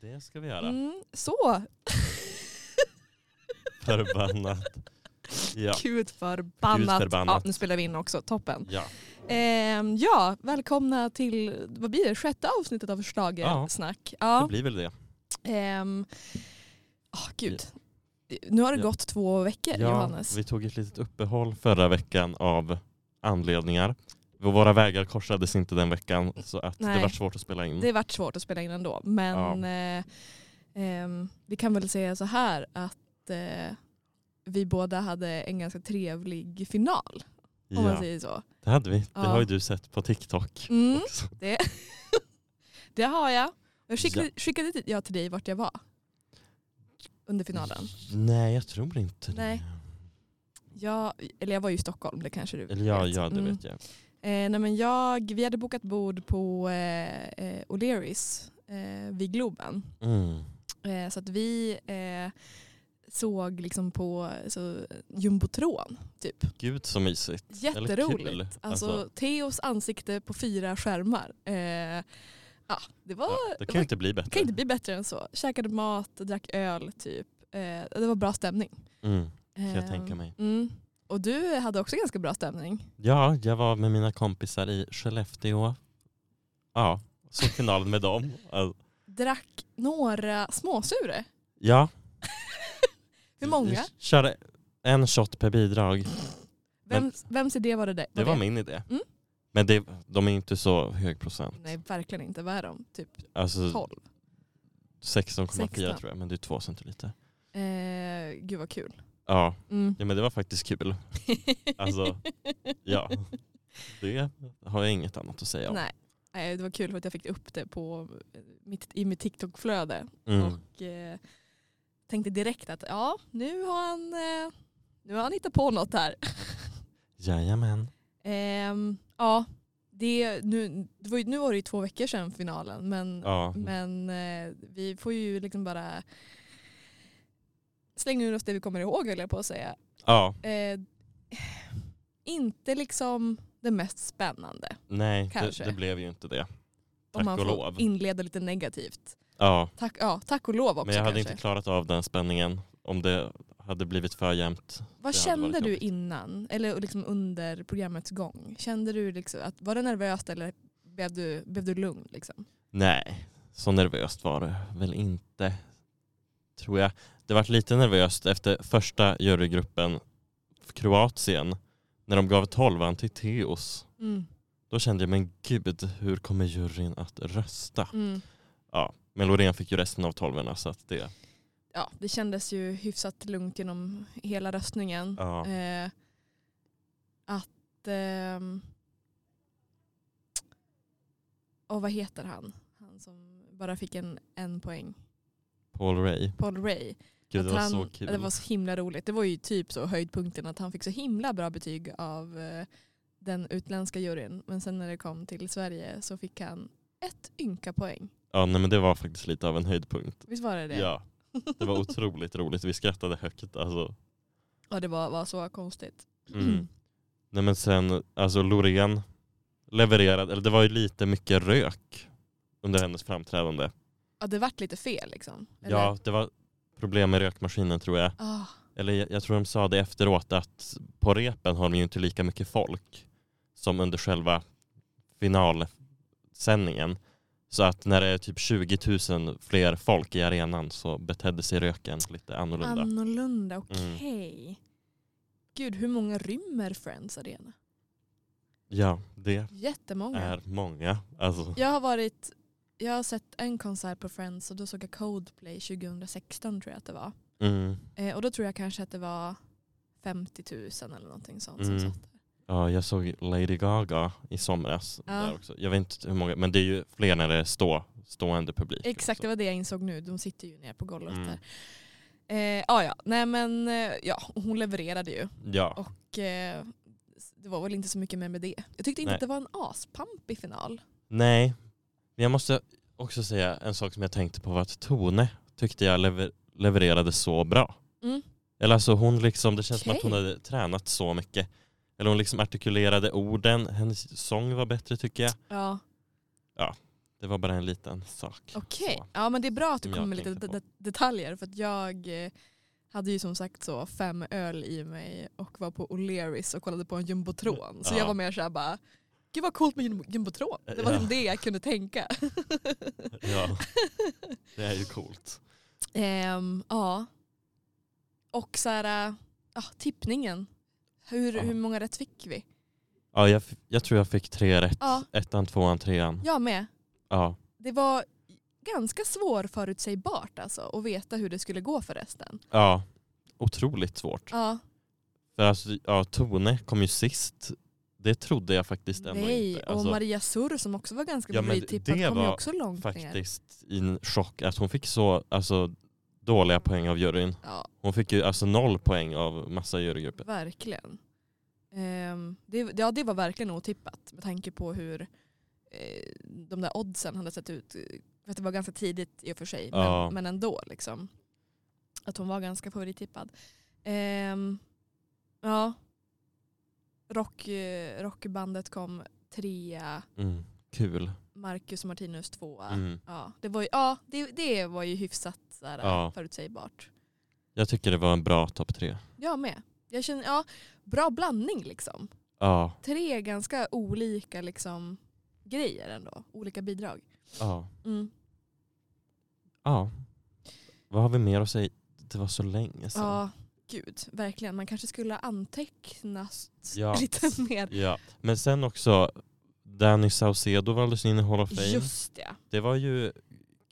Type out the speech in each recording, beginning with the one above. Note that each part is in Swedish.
Det ska vi göra. Mm, så! Förbannat. Ja. Gud förbannat. Gud förbannat. Ja, nu spelar vi in också, toppen. ja. Ehm, ja, välkomna till vad blir det, sjätte avsnittet av Schlagersnack. Det Ja. blir väl det. Ehm, ah, gud. Nu har det Ja. gått två veckor Johannes. vi tog ett litet uppehåll förra veckan av anledningar. Våra vägar korsades inte den veckan så att det Nej. var svårt att spela in. Det har varit svårt att spela in ändå. Men eh, ehm, vi kan väl säga så här att eh, vi båda hade en ganska trevlig final. Om man ja, säger så. det hade vi. Ja. Det har ju du sett på TikTok. Mm, också. det har jag. Jag skickade, Ja. skickade dit- jag till dig vart jag var. Under finalen. Nej, jag tror inte Nej. Jag, eller jag var ju i Stockholm, det kanske du det. Eller ja, vet. ja, det Mm. vet jag. Eh, nej men jag, vi hade bokat bord på eh, eh, O'Learys eh, vid Globen. Mm. Eh, så att vi eh, såg liksom på så, jumbotron. Typ. Gud så mysigt. Eller Jätteroligt. kul. Alltså, Theos ansikte på fyra skärmar. Eh, ja, det var... ja, det kan ju inte bli bättre. det Eh, kan inte bli bättre än så. Käkade mat, drack öl typ. Eh, det var bra stämning. Mm. jag Eh, tänka mig. Mm. Och du hade också ganska bra stämning. Ja, jag var med mina kompisar i Skellefteå. Ja, såg finalen med dem. Alltså, Drack några småsure. Ja, Hur många? Vi körde en shot per bidrag. men- Vems, vems idé var det? där? Det var min idé. Mm. Men det, de är inte så hög procent. Nej, verkligen inte. Vad är de? Typ Alltså 12? 16,4 16. tror jag, men det är två centiliter. Eh, gud vad kul. Ja, Mm. ja, men det var faktiskt kul. Alltså, ja. Det har jag inget annat att säga om. Nej. Nej, det var kul för att jag fick upp det på eh, mitt, i mitt TikTok-flöde. Mm. Och eh, tänkte direkt att ja, nu har han, eh, nu har han hittat på något här. Jajamän. Ehm, ja, det, nu, det var ju, nu var det ju två veckor sedan finalen men, Ja. men eh, vi får ju liksom bara slänga ur oss det vi kommer ihåg höll jag på att säga. ja, Eh, inte liksom det mest spännande nej det, Kanske. det blev ju inte det. om man Tack och får lov. inleda lite negativt. Ja. Tack, ja, tack och lov också Men jag hade kanske. inte klarat av den spänningen om det hade blivit för jämnt. Vad det hade kände varit du jobbigt. innan, eller liksom under programmets gång? Kände du liksom att, var du nervös eller blev du, blev du lugn? Liksom? Nej, så nervöst var det väl inte. Tror jag. Det var lite nervöst efter första jurygruppen, Kroatien, när de gav tolvan till Theos. Mm. Då kände jag, men gud, hur kommer juryn att rösta? mm. Ja, men Loreen fick ju resten av tolvorna så att det... Ja, det kändes ju hyfsat lugnt genom hela röstningen. Ja, Eh, att... ehm, och vad heter han? Han som bara fick en, en poäng. Paul Ray. Paul Ray. Gud, det Att var han, så kul. Det var så himla roligt. Det var ju typ så höjdpunkten att han fick så himla bra betyg av eh, den utländska juryn. Men sen när det kom till Sverige så fick han ett ynka poäng. Ja, nej, men det var faktiskt lite av en höjdpunkt. Visst var det det? Ja, det var otroligt roligt. Vi skrattade högt. Alltså. Ja, det var, var så konstigt. Mm. Nej men sen, alltså Loreen levererade, eller det var ju lite mycket rök under hennes framträdande. Ja, det vart lite fel liksom. Eller? Ja, det var problem med rökmaskinen tror jag. Ah, Eller jag, jag tror de sa det efteråt att på repen har de ju inte lika mycket folk som under själva finalsändningen. Så att när det är typ 20 000 fler folk i arenan så betedde sig röken lite annorlunda. Mm. annorlunda, okej. Gud, hur många rymmer Friends Arena? ja, det Jättemånga. är många. Alltså, Jag har varit... Jag har sett en konsert på Friends och då såg jag Coldplay 2016 tror jag att det var. mm. Eh, och då tror jag kanske att det var 50 000 eller någonting sånt som Mm. satt där. Ja, jag såg Lady Gaga i somras. Ja. Där också. Jag vet inte hur många, men det är ju fler när det är stå, stående publik. Exakt, det också. var det jag insåg nu. De sitter ju ner på golvet Mm. där. Eh, ah, ja, nej men eh, ja, hon levererade ju. Ja, Och eh, det var väl inte så mycket mer med det. Jag tyckte inte Nej. att det var en aspampig final. nej. Men jag måste också säga en sak som jag tänkte på var att Tone tyckte jag lever, levererade så bra. Mm. Eller alltså hon liksom, det känns som att hon Okej. hade tränat så mycket. Eller hon liksom artikulerade orden, hennes sång var bättre tycker jag. Ja. Det var bara en liten sak. Okej, Så. ja men det är bra att du Som jag kommer med lite tänkte på. det- detaljer för att jag eh, hade ju som sagt så fem öl i mig och var på O'Learys och kollade på en jumbotron. Så Ja. jag var mer såhär bara, gud vad coolt med jum- jumbotron. Det var Ja. liksom det jag kunde tänka. Ja, det är ju coolt. Ehm, ja. Och så här, eh, ja, tippningen. Hur, Ja. hur många rätt fick vi? Ja, jag, f- jag tror jag fick tre rätt. Ja. Ettan, tvåan, trean. Jag med. Ja. Det var ganska svårförutsägbart alltså att veta hur det skulle gå för resten. ja. Otroligt svårt. Ja. För alltså, ja, Tone kom ju sist. Det trodde jag faktiskt ändå Nej, inte. och Alltså, Maria Surr som också var ganska Ja, men favorittippad det kom ju var också långt ner. faktiskt typ i en chock att hon fick så alltså, dåliga poäng av juryn. Ja, Hon fick ju alltså noll poäng av massa jurygrupper. verkligen. Ehm, det, ja, det var verkligen otippat med tanke på hur eh, de där oddsen hade sett ut. Eh, För att det var ganska tidigt i och för sig, Ja. men, men ändå. Liksom. Att hon var ganska favorittippad. Ehm, ja. Rock, eh, rockbandet kom trea, Mm. Kul. Marcus och Martinus tvåa. Mm. Ja, det var ju, ja, det, det var ju hyfsat såhär, Ja. förutsägbart. Jag tycker det var en bra topp tre. Jag med. Jag känner, ja, bra blandning liksom. Ja. Tre ganska olika liksom, grejer ändå. Olika bidrag. ja. Mm. Ja. Vad har vi mer att säga? Det var så länge sedan. Ja, gud. Verkligen. Man kanske skulle ha antecknat Ja. lite mer. Ja. Men sen också Danny Saucedo valdes in i Hall of Fame. Just det. Det var ju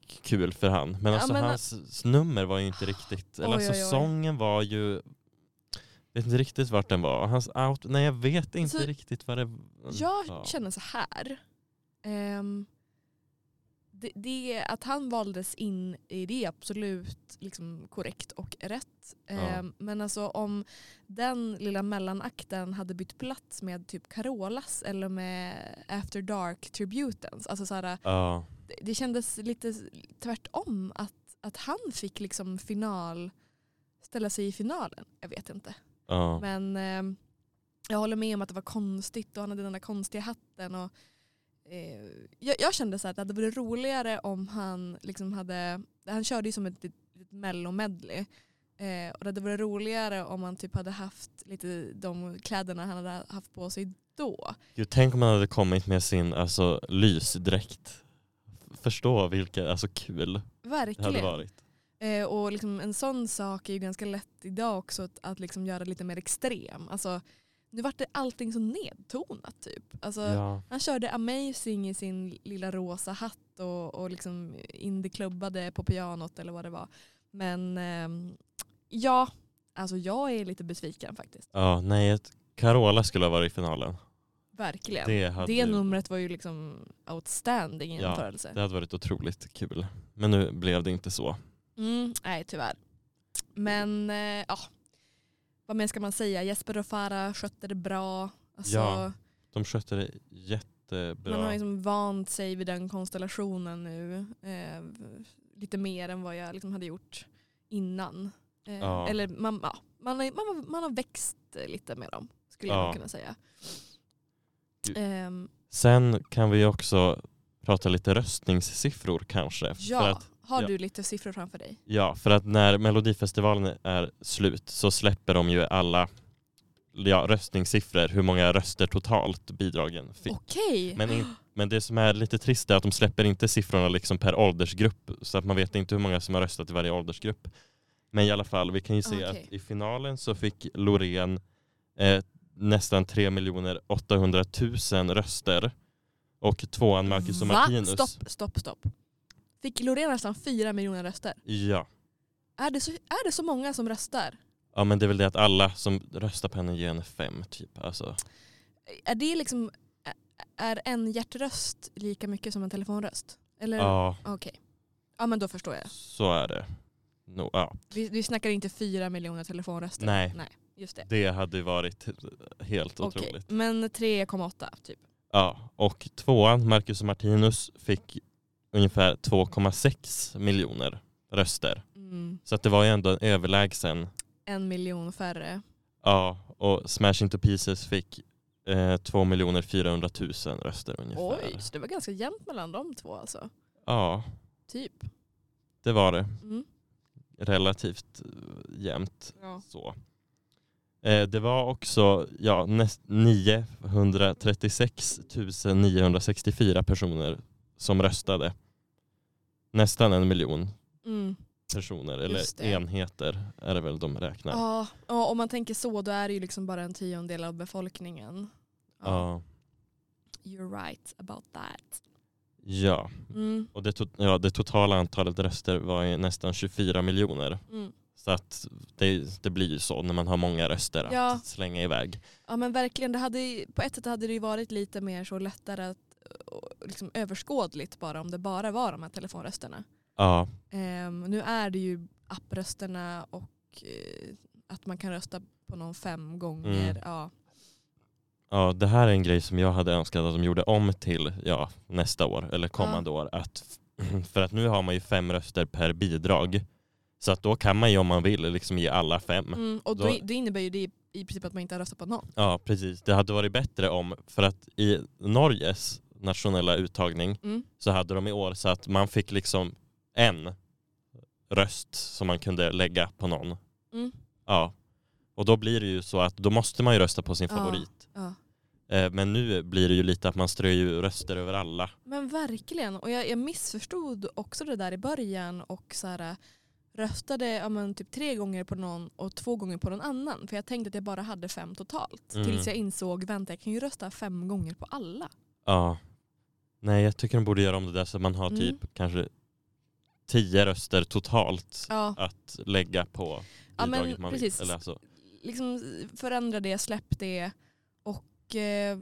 kul för han. Men Ja, alltså men- hans s- nummer var ju inte riktigt, eller Oj, alltså oj, oj. sången var ju Vet inte riktigt vart den var. Hans out, nej jag vet inte Alltså, riktigt vad det Jag var. känner så här. Ehm, det, det, att han valdes in i det är absolut liksom, korrekt och rätt. Ehm, Men alltså om den lilla mellanakten hade bytt plats med typ Carolas eller med After Dark Tributens. Alltså så här, Ja, det, det kändes lite tvärtom att, att han fick liksom final, ställa sig i finalen. Jag vet inte. ja, Men eh, jag håller med om att det var konstigt och han hade den där konstiga hatten. Och, eh, jag, jag kände så här att det hade varit roligare om han liksom hade, han körde ju som ett, ett, ett mellomedley. Eh, och det hade varit roligare om han typ hade haft lite de kläderna han hade haft på sig då. Gud, tänk om han hade kommit med sin alltså, lysdräkt. Förstå vilka, alltså kul det hade Verkligen. varit. Eh, och liksom en sån sak är ju ganska lätt idag också att, att liksom göra lite mer extrem. Alltså, nu vart det allting så nedtonat typ. Alltså, Ja. Han körde Amazing i sin lilla rosa hatt och, och liksom indieklubbade på pianot eller vad det var. Men ehm, ja, alltså jag är lite besviken faktiskt. ja, nej ett- Carola skulle ha varit i finalen. Verkligen. Det, Det hade, numret var ju liksom outstanding i Ja, jämförelse. det hade varit otroligt kul. Men nu blev det inte så. Mm, nej, tyvärr. Men eh, ja, vad mer ska man säga? Jesper och Farah skötte det bra. Alltså, Ja, De skötte det jättebra. Man har liksom vant sig vid den konstellationen nu. Eh, lite mer än vad jag liksom hade gjort innan. Eh, Ja. Eller man, ja, man, har, man, har, man har växt eh, lite med dem skulle Ja. jag kunna säga. Gud. Ehm, Sen kan vi också prata lite röstningssiffror kanske. För ja, att, har ja. du lite siffror framför dig? ja, för att när Melodifestivalen är slut så släpper de ju alla ja, röstningssiffror, hur många röster totalt bidragen fick. Okej, Men, in, men det som är lite trist är att de släpper inte siffrorna liksom per åldersgrupp så att man vet inte hur många som har röstat i varje åldersgrupp. Men i alla fall, vi kan ju se Okej. att i finalen så fick Loreen eh, nästan 3 800 000 röster och tvåan Marcus och Va? Martinus. Stopp, stopp, stopp. Fick Loreen nästan fyra miljoner röster? Ja. Är det, så, är det så många som röstar? ja, men det är väl det att alla som röstar på henne ger henne fem typ. Alltså, Är det liksom, är en hjärtröst lika mycket som en telefonröst? Eller? ja, Okej. Ja men då förstår jag. så är det. No, ja. Vi, vi snackar inte fyra miljoner telefonröster. Nej, Just det. det hade ju varit helt Okej. otroligt. Men 3,8 typ. Ja, och tvåan, Marcus och Martinus, fick ungefär 2,6 miljoner röster. Mm. Så att det var ju ändå en överlägsen. En miljon färre. Ja, och Smash Into Pieces fick eh, 2 400 000 röster ungefär. Oj, så det var ganska jämnt mellan de två alltså. Ja, Typ. det var det. Mm. Relativt eh, jämnt. Ja. Så. Eh, det var också ja, näst, 936 964 personer som röstade. Nästan en miljon Mm. personer, Just eller det. enheter är det väl de räknar. Ja, ja, om man tänker så då är det ju liksom bara en tiondel av befolkningen. Ja. You're right about that. ja. Mm. Och det, to- ja, det totala antalet röster var ju nästan 24 miljoner. Mm. Så att det, det blir ju så när man har många röster att Ja. slänga iväg. Ja men verkligen, det hade, på ett sätt hade det ju varit lite mer så lättare att och liksom överskådligt bara om det bara var de här telefonrösterna. Ja, Ehm, nu är det ju apprösterna och eh, att man kan rösta på någon fem gånger. Mm. Ja. ja, det här är en grej som jag hade önskat att de gjorde om till ja, nästa år eller kommande år. Att, för att nu har man ju fem röster per bidrag. Så att då kan man ju om man vill liksom ge alla fem. Mm, och då, då- det innebär ju det i i princip att man inte har röstat på någon. Ja, precis. Det hade varit bättre om, för att i Norges nationella uttagning Mm. så hade de i år så att man fick liksom en röst som man kunde lägga på någon. Mm. Ja. Och då blir det ju så att då måste man ju rösta på sin Ja. favorit. Ja. Eh, Men nu blir det ju lite att man strör ju röster över alla. Men verkligen, och jag, jag missförstod också det där i början och så här, röstade ja, men, typ tre gånger på någon och två gånger på någon annan. För jag tänkte att jag bara hade fem totalt. Mm. Tills jag insåg, vänta jag kan ju rösta fem gånger på alla. Ja. Nej, jag tycker de borde göra om det där så att man har Mm. typ kanske tio röster totalt Ja, att lägga på Ja, men bidraget man vill. precis. Eller alltså, liksom förändra det, släpp det och eh,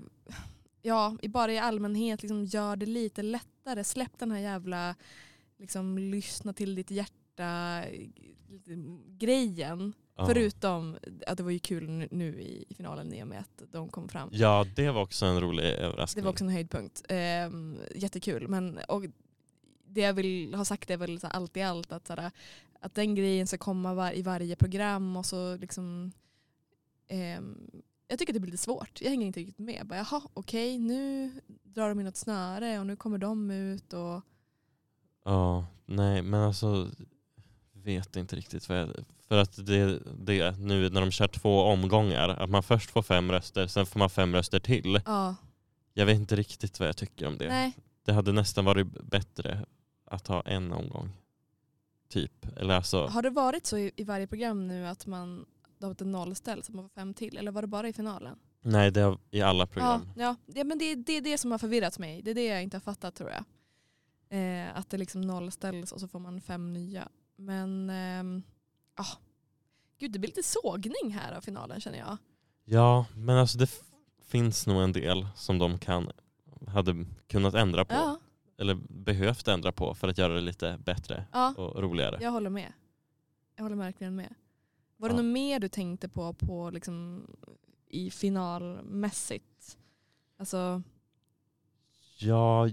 ja, i- bara i allmänhet liksom gör det lite lättare. Släpp den här jävla liksom lyssna till ditt hjärta eh, grejen. ja. Förutom att det var ju kul nu- nu i i finalen i och med att de kom fram. Ja, det var också en rolig Det överraskning. var också en höjdpunkt. Ehm, jättekul. Men, och det jag vill ha sagt är väl så här allt i allt att, så här, att den grejen ska komma var, i varje program och så liksom ehm, jag tycker att det blir lite svårt. Jag hänger inte riktigt med. Bara, Jaha, okej, nu drar de in något snöre och nu kommer de ut och Ja, nej men alltså vet inte riktigt vad jag... För att det, det nu när de kör två omgångar, att man först får fem röster, sen får man fem röster till. ja, Jag vet inte riktigt vad jag tycker om det. nej. Det hade nästan varit bättre att ha en omgång. Typ. Eller alltså, Har det varit så i, i varje program nu att man det har varit en nollställ så man får fem till eller var det bara i finalen? nej det är i alla program. Ja, ja. Det, men det, är- det är det som har förvirrat mig. Det är det jag inte har fattat tror jag. Eh, att det liksom nollställs och så får man fem nya. Men ehm, ja. Gud, det blir lite sågning här av finalen känner jag. Ja, men alltså det f- finns nog en del som de kan, hade kunnat ändra på. Ja, Eller behövt ändra på för att göra det lite bättre ja, och roligare. jag håller med. Jag håller verkligen med. Var det Ja. något mer du tänkte på, på liksom, i finalmässigt? Alltså, Ja,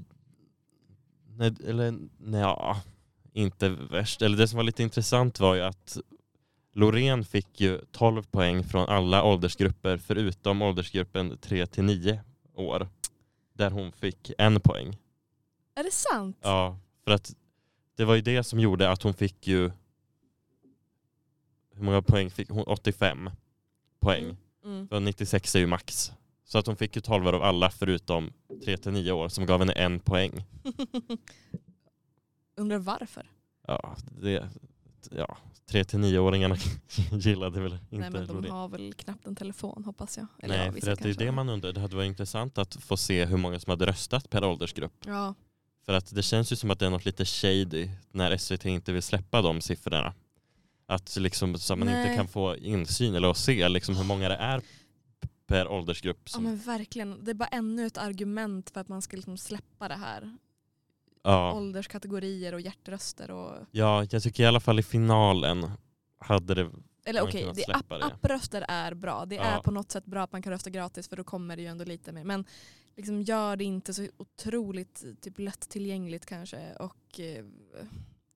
nej, eller nej, ja, inte värst. Eller det som var lite intressant var ju att Loreen fick ju 12 poäng från alla åldersgrupper förutom åldersgruppen 3 till 9 år. Där hon fick en poäng. är det sant? Ja, för att det var ju det som gjorde att hon fick ju hur många poäng fick hon? 85 poäng. Mm. Mm. För 96 är ju max. Så att hon fick ju 12 av alla förutom 3 till 9 år som gav henne en poäng. Undrar varför? Ja, det, ja 3 till 9-åringarna gillade väl inte Nej, men de Loreen. har väl knappt en telefon hoppas jag. Eller ja, Nej, vissa för att det är kanske det har. man undrar. Det hade varit intressant att få se hur många som hade röstat per åldersgrupp. Ja, För att det känns ju som att det är något lite shady när SVT inte vill släppa de siffrorna. Att liksom, så att man Nej. inte kan få insyn eller att se liksom hur många det är per åldersgrupp. Ja Som, men verkligen. Det är bara ännu ett argument för att man ska liksom släppa det här. ja. Ålderskategorier och hjärtröster. Och, ja, jag tycker i alla fall i finalen hade det eller Man okej, kunnat okay, app, släppa det. appröster är bra. Det Ja. är på något sätt bra att man kan rösta gratis för då kommer det ju ändå lite mer. Men liksom gör det inte så otroligt typ, lättillgängligt kanske. Och, eh,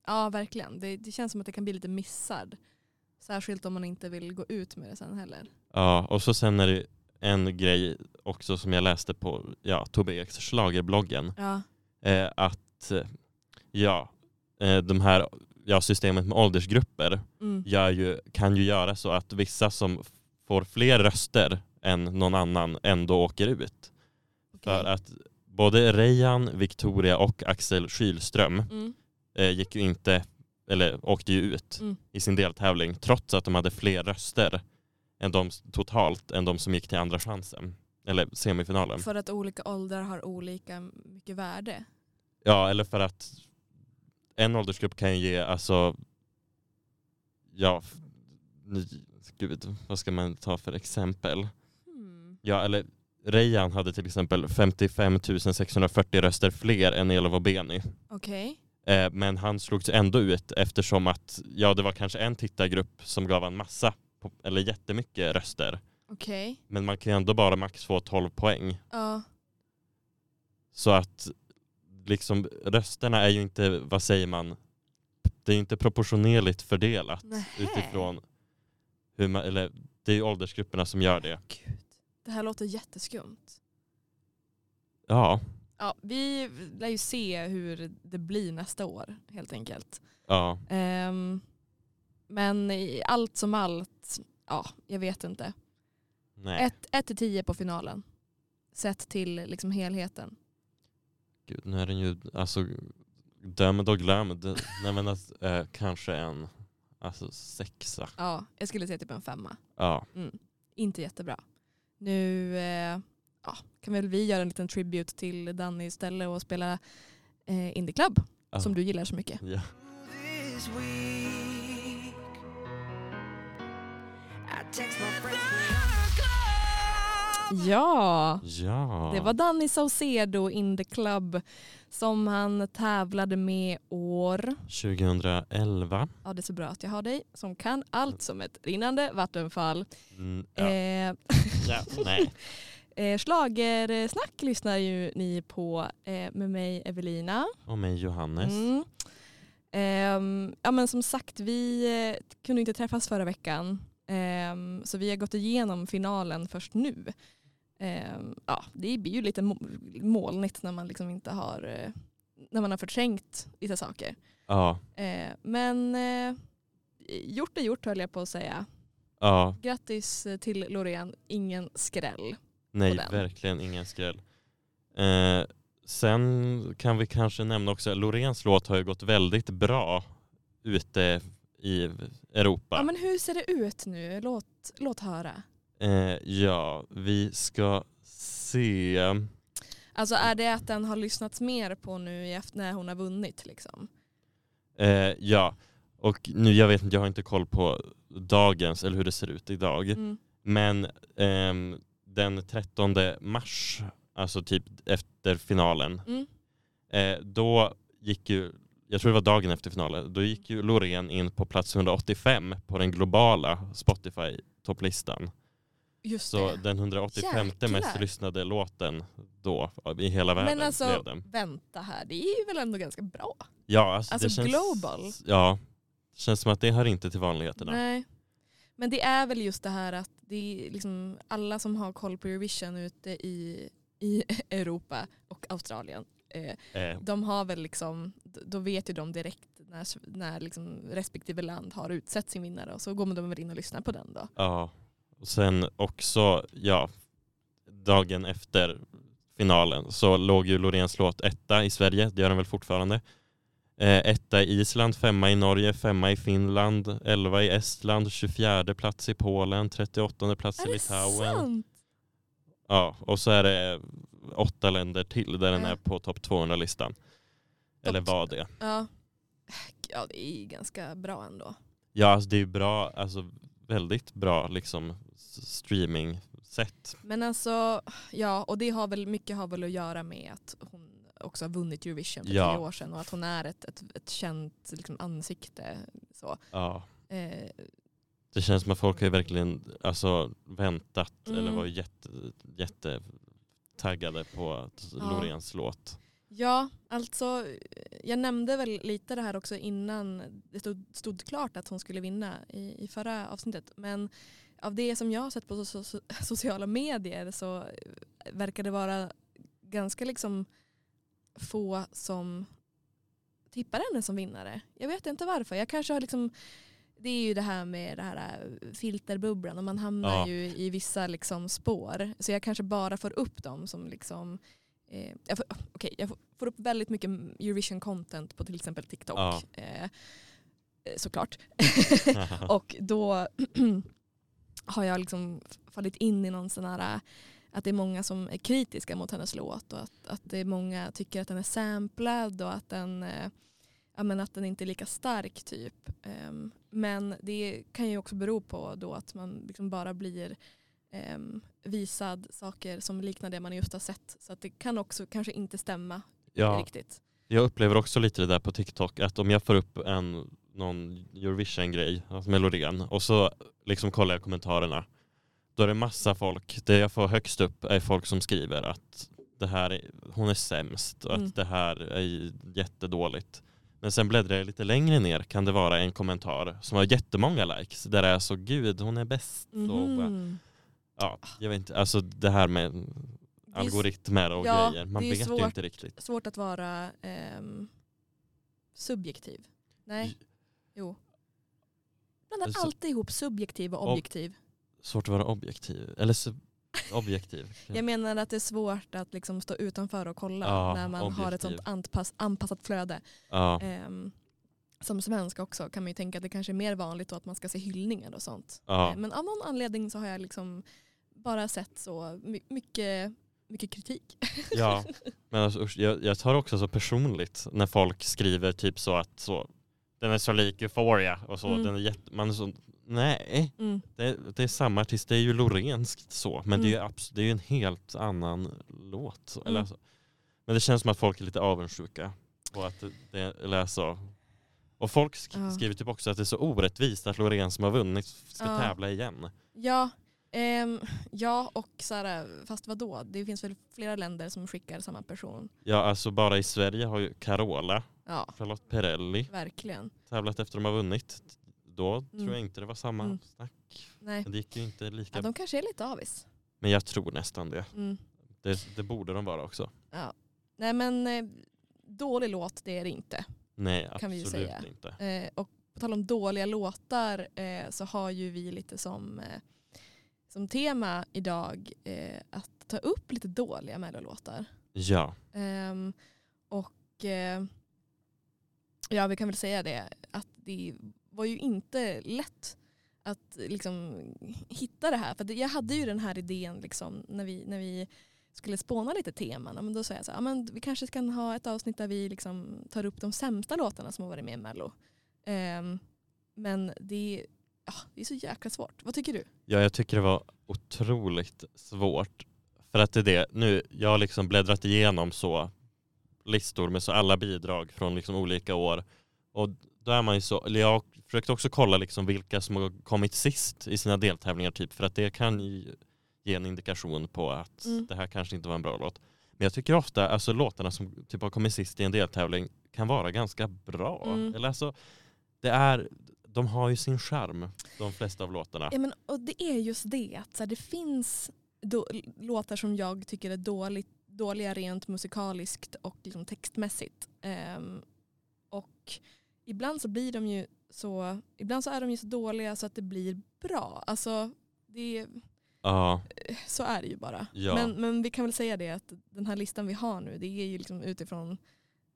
ja verkligen. Det, det känns som att det kan bli lite missad. Särskilt om man inte vill gå ut med det sen heller. Ja, och så sen när det en grej också som jag läste på ja, Tobbe Eks schlagerbloggen. Ja. Eh, att eh, ja, eh, de här, ja, systemet med åldersgrupper Mm. gör ju, kan ju göra så att vissa som f- får fler röster än någon annan ändå åker ut. För okej. att både Rejan, Victoria och Axel Kylström Mm. eh, gick ju inte, eller åkte ju ut Mm. i sin deltävling trots att de hade fler röster än de, totalt än de som gick till andra chansen. Eller semifinalen. För att olika åldrar har olika mycket värde. Ja, eller för att en åldersgrupp kan ju ge, alltså, ja, f- ny- gud, vad ska man ta för exempel? Hmm. Ja, eller Rejan hade till exempel 55 640 röster fler än Elof och Beny. Okej. Eh, men han slogs ändå ut eftersom att, ja, det var kanske en tittargrupp som gav en massa, på- eller jättemycket röster. Okej. Men man kan ju ändå bara max få 12 poäng. Ja. Så att liksom rösterna är ju inte, vad säger man, det är ju inte proportionerligt fördelat Nähä. utifrån hur man, eller det är ju åldersgrupperna som gör det. Gud. Det här låter jätteskumt. Ja, Ja, vi lär ju se hur det blir nästa år helt enkelt. ja. Ehm, men i allt som allt, ja, jag vet inte. Nej, 1-10 på finalen. Sett till liksom helheten. gud, nu är den ju alltså dömd och glömd. Nej men att, eh, kanske en alltså sexa. Ja, jag skulle säga typ en femma. Ja, Inte jättebra. Nu eh, ja, kan väl vi göra en liten tribute till Danny istället och spela eh, Indie Club Ja. som du gillar så mycket. ja. this week. I text my friends. Ja! ja. Det var Danny Saucedo in the club som han tävlade med år. 2011. Ja, det är så bra att jag har dig som kan allt som ett rinnande vattenfall. Mm, Ja. ja. Eh, ja, nej. eh, Schlagersnack lyssnar ju ni på eh, med mig Evelina. Och mig Johannes. Mm. Ehm, ja, men som sagt, vi eh, kunde inte träffas förra veckan. Ehm, så vi har gått igenom finalen först nu. Ehm, ja, det blir ju lite mo- molnigt när man liksom inte har eh, när man har förträngt vissa saker. Ja, Ehm, men eh, gjort är gjort höll jag på att säga. ja. Grattis eh, till Loreen, ingen skräll. Nej, den. verkligen ingen skräll. Eh, sen kan vi kanske nämna också, Lorens låt har ju gått väldigt bra ute i Europa. Ja, men hur ser det ut nu? Låt, låt höra. Eh, ja, vi ska se. Alltså är det att den har lyssnats mer på nu i efter- när hon har vunnit? Liksom? Eh, ja, och nu jag vet inte, jag har inte koll på dagens eller hur det ser ut idag. Mm. Men ehm, den 13 mars, alltså typ efter finalen, Mm. eh, då gick ju, jag tror det var dagen efter finalen, då gick ju Loreen in på plats 185 på den globala Spotify-topplistan. Just Så det. den 185 mest Jäklar. lyssnade låten då i hela världen Men alltså, blev den. vänta här, det är ju väl ändå ganska bra? Ja, alltså, det alltså känns, global? Ja, det känns som att det hör inte till vanligheterna. Nej. Men det är väl just det här att det är liksom alla som har koll på Eurovision ute i, i Europa och Australien, eh, Eh, de har väl liksom, d- då vet ju de direkt när, s- när liksom respektive land har utsett sin vinnare och så går de väl in och lyssnar på den då. Ja, och sen också, ja, dagen efter finalen så låg ju Lorens låt etta i Sverige, det gör den väl fortfarande. Eh, etta i Island, femma i Norge, femma i Finland, elva i Estland, 24 plats i Polen, 38 plats Är i det Litauen. sant? Ja, och så är det åtta länder till där den Ja. är på topp 200-listan. Eller var det. Ja. ja, det är ganska bra ändå. Ja, alltså det är ju bra, alltså väldigt bra liksom streaming-sätt. Men alltså, ja, och det har väl, mycket har väl att göra med att hon också har vunnit Eurovision för Ja. tio år sedan och att hon är ett, ett, ett känt liksom, ansikte. Så. Ja. Eh, Det känns som att folk har ju verkligen alltså, väntat Mm. eller var jätte, jätte taggade på att Ja. Lorens låt. ja, alltså jag nämnde väl lite det här också innan det stod, stod klart att hon skulle vinna i, i förra avsnittet. Men av det som jag har sett på so so sociala medier så verkar det vara ganska liksom få som tippar henne som vinnare. Jag vet inte varför. Jag kanske har liksom det är ju det här med det här äh, filterbubblan och man hamnar Ja. ju i vissa liksom spår. Så jag kanske bara får upp dem som liksom eh, jag, får, okej, jag får- får upp väldigt mycket Eurovision content på till exempel TikTok. Ja. Eh, eh, såklart. Och då har jag liksom fallit in i någon sån här äh, att det är många som är kritiska mot hennes låt och att, att det är många tycker att den är samplad och att den, eh, ja, men att den inte är lika stark typ. Ehm, men det kan ju också bero på då att man liksom bara blir ehm, visad saker som liknar det man just har sett. Så att det kan också kanske inte stämma ja, riktigt. jag upplever också lite det där på TikTok att om jag får upp en någon Eurovision-grej, alltså melodin, och så liksom kollar jag kommentarerna. Då är det massa folk, det jag får högst upp är folk som skriver att det här, är- hon är sämst och att Mm. det här är jättedåligt. Men sen bläddrar jag lite längre ner kan det vara en kommentar som har jättemånga likes där det är så gud hon är bäst. Och, Mhm. ja, jag vet inte, alltså det här med Det är algoritmer och ja, grejer, man det är vet ju svårt. inte riktigt. svårt att vara ehm, subjektiv. Nej, jo. Blandar Alltså- alltid ihop subjektiv och Ob- objektiv. svårt att vara objektiv. Eller sub- objektiv. Jag menar att det är svårt att liksom stå utanför och kolla Ja, när man har ett objektiv. sånt anpass, anpassat flöde. ja. Ehm, som svensk också kan man ju tänka att det kanske är mer vanligt då att man ska se hyllningar och sånt. Ja. Eh, Men av någon anledning så har jag liksom bara sett så my- mycket, mycket kritik. ja. Men alltså, usch, jag, jag tar också så personligt när folk skriver typ så att så, den är så lik Euphoria och så. Mm. Den är jätte, man är så, nej, Mm. det, det är samma artist. Det är ju lorenskt så. Men det, är ju Mm. abs- det är ju en helt annan låt. Så, eller Mm. alltså, men det känns som att folk är lite avundsjuka. Och att det- det, eller så. Och folk sk- Ja. skriver typ också att det är så orättvist att Loreen som har vunnit ska Ja. tävla igen. Ja, ehm, ja och så här, fast vadå? Det finns väl flera länder som skickar samma person. Ja, alltså bara i Sverige har ju Carola, Ja, Charlotte Perrelli verkligen. tävlat efter de har vunnit. Då tror Mm. jag inte det var samma Mm. snack. Nej. Men det gick ju inte Ja, lika. de kanske är lite avis. Men jag tror nästan det. Mm. det. Det borde de vara också. Nej men eh, dålig låt det är det inte. Nej, Kan vi ju absolut säga. inte. Eh, och på tal om dåliga låtar eh, så har ju vi lite som, eh, som tema idag eh, att ta upp lite dåliga mellolåtar. Ja, Ehm, och eh, ja, vi kan väl säga det att det var ju inte lätt att liksom hitta det här. För att jag hade ju den här idén liksom, när, vi, när vi skulle spåna lite teman. Ja, Men då sa jag så här, "Ja, men vi kanske kan ha ett avsnitt där vi liksom tar upp de sämsta låtarna som har varit med i Mello. Ehm, men det, ja, det är så jäkla svårt. Vad tycker du? ja jag tycker det var otroligt svårt. För att det är det, nu, jag har liksom bläddrat igenom så listor med så alla bidrag från liksom olika år. Och då är man ju så, eller jag försökte också kolla liksom vilka som har kommit sist i sina deltävlingar typ för att det kan ju ge en indikation på att Mm. det här kanske inte var en bra låt. Men jag tycker ofta alltså låtarna som typ har kommit sist i en deltävling kan vara ganska bra. Mm. Eller alltså, det är, de har ju sin charm de flesta av låtarna. Ja, men, och det är just det, att så här, det finns då, låtar som jag tycker är dåligt, dåliga rent musikaliskt och liksom textmässigt. Ehm, och ibland så blir de ju så, ibland så är de ju så dåliga så att det blir bra. Alltså, det, Ja, så är det ju bara. Ja. Men, men vi kan väl säga det att den här listan vi har nu det är ju liksom utifrån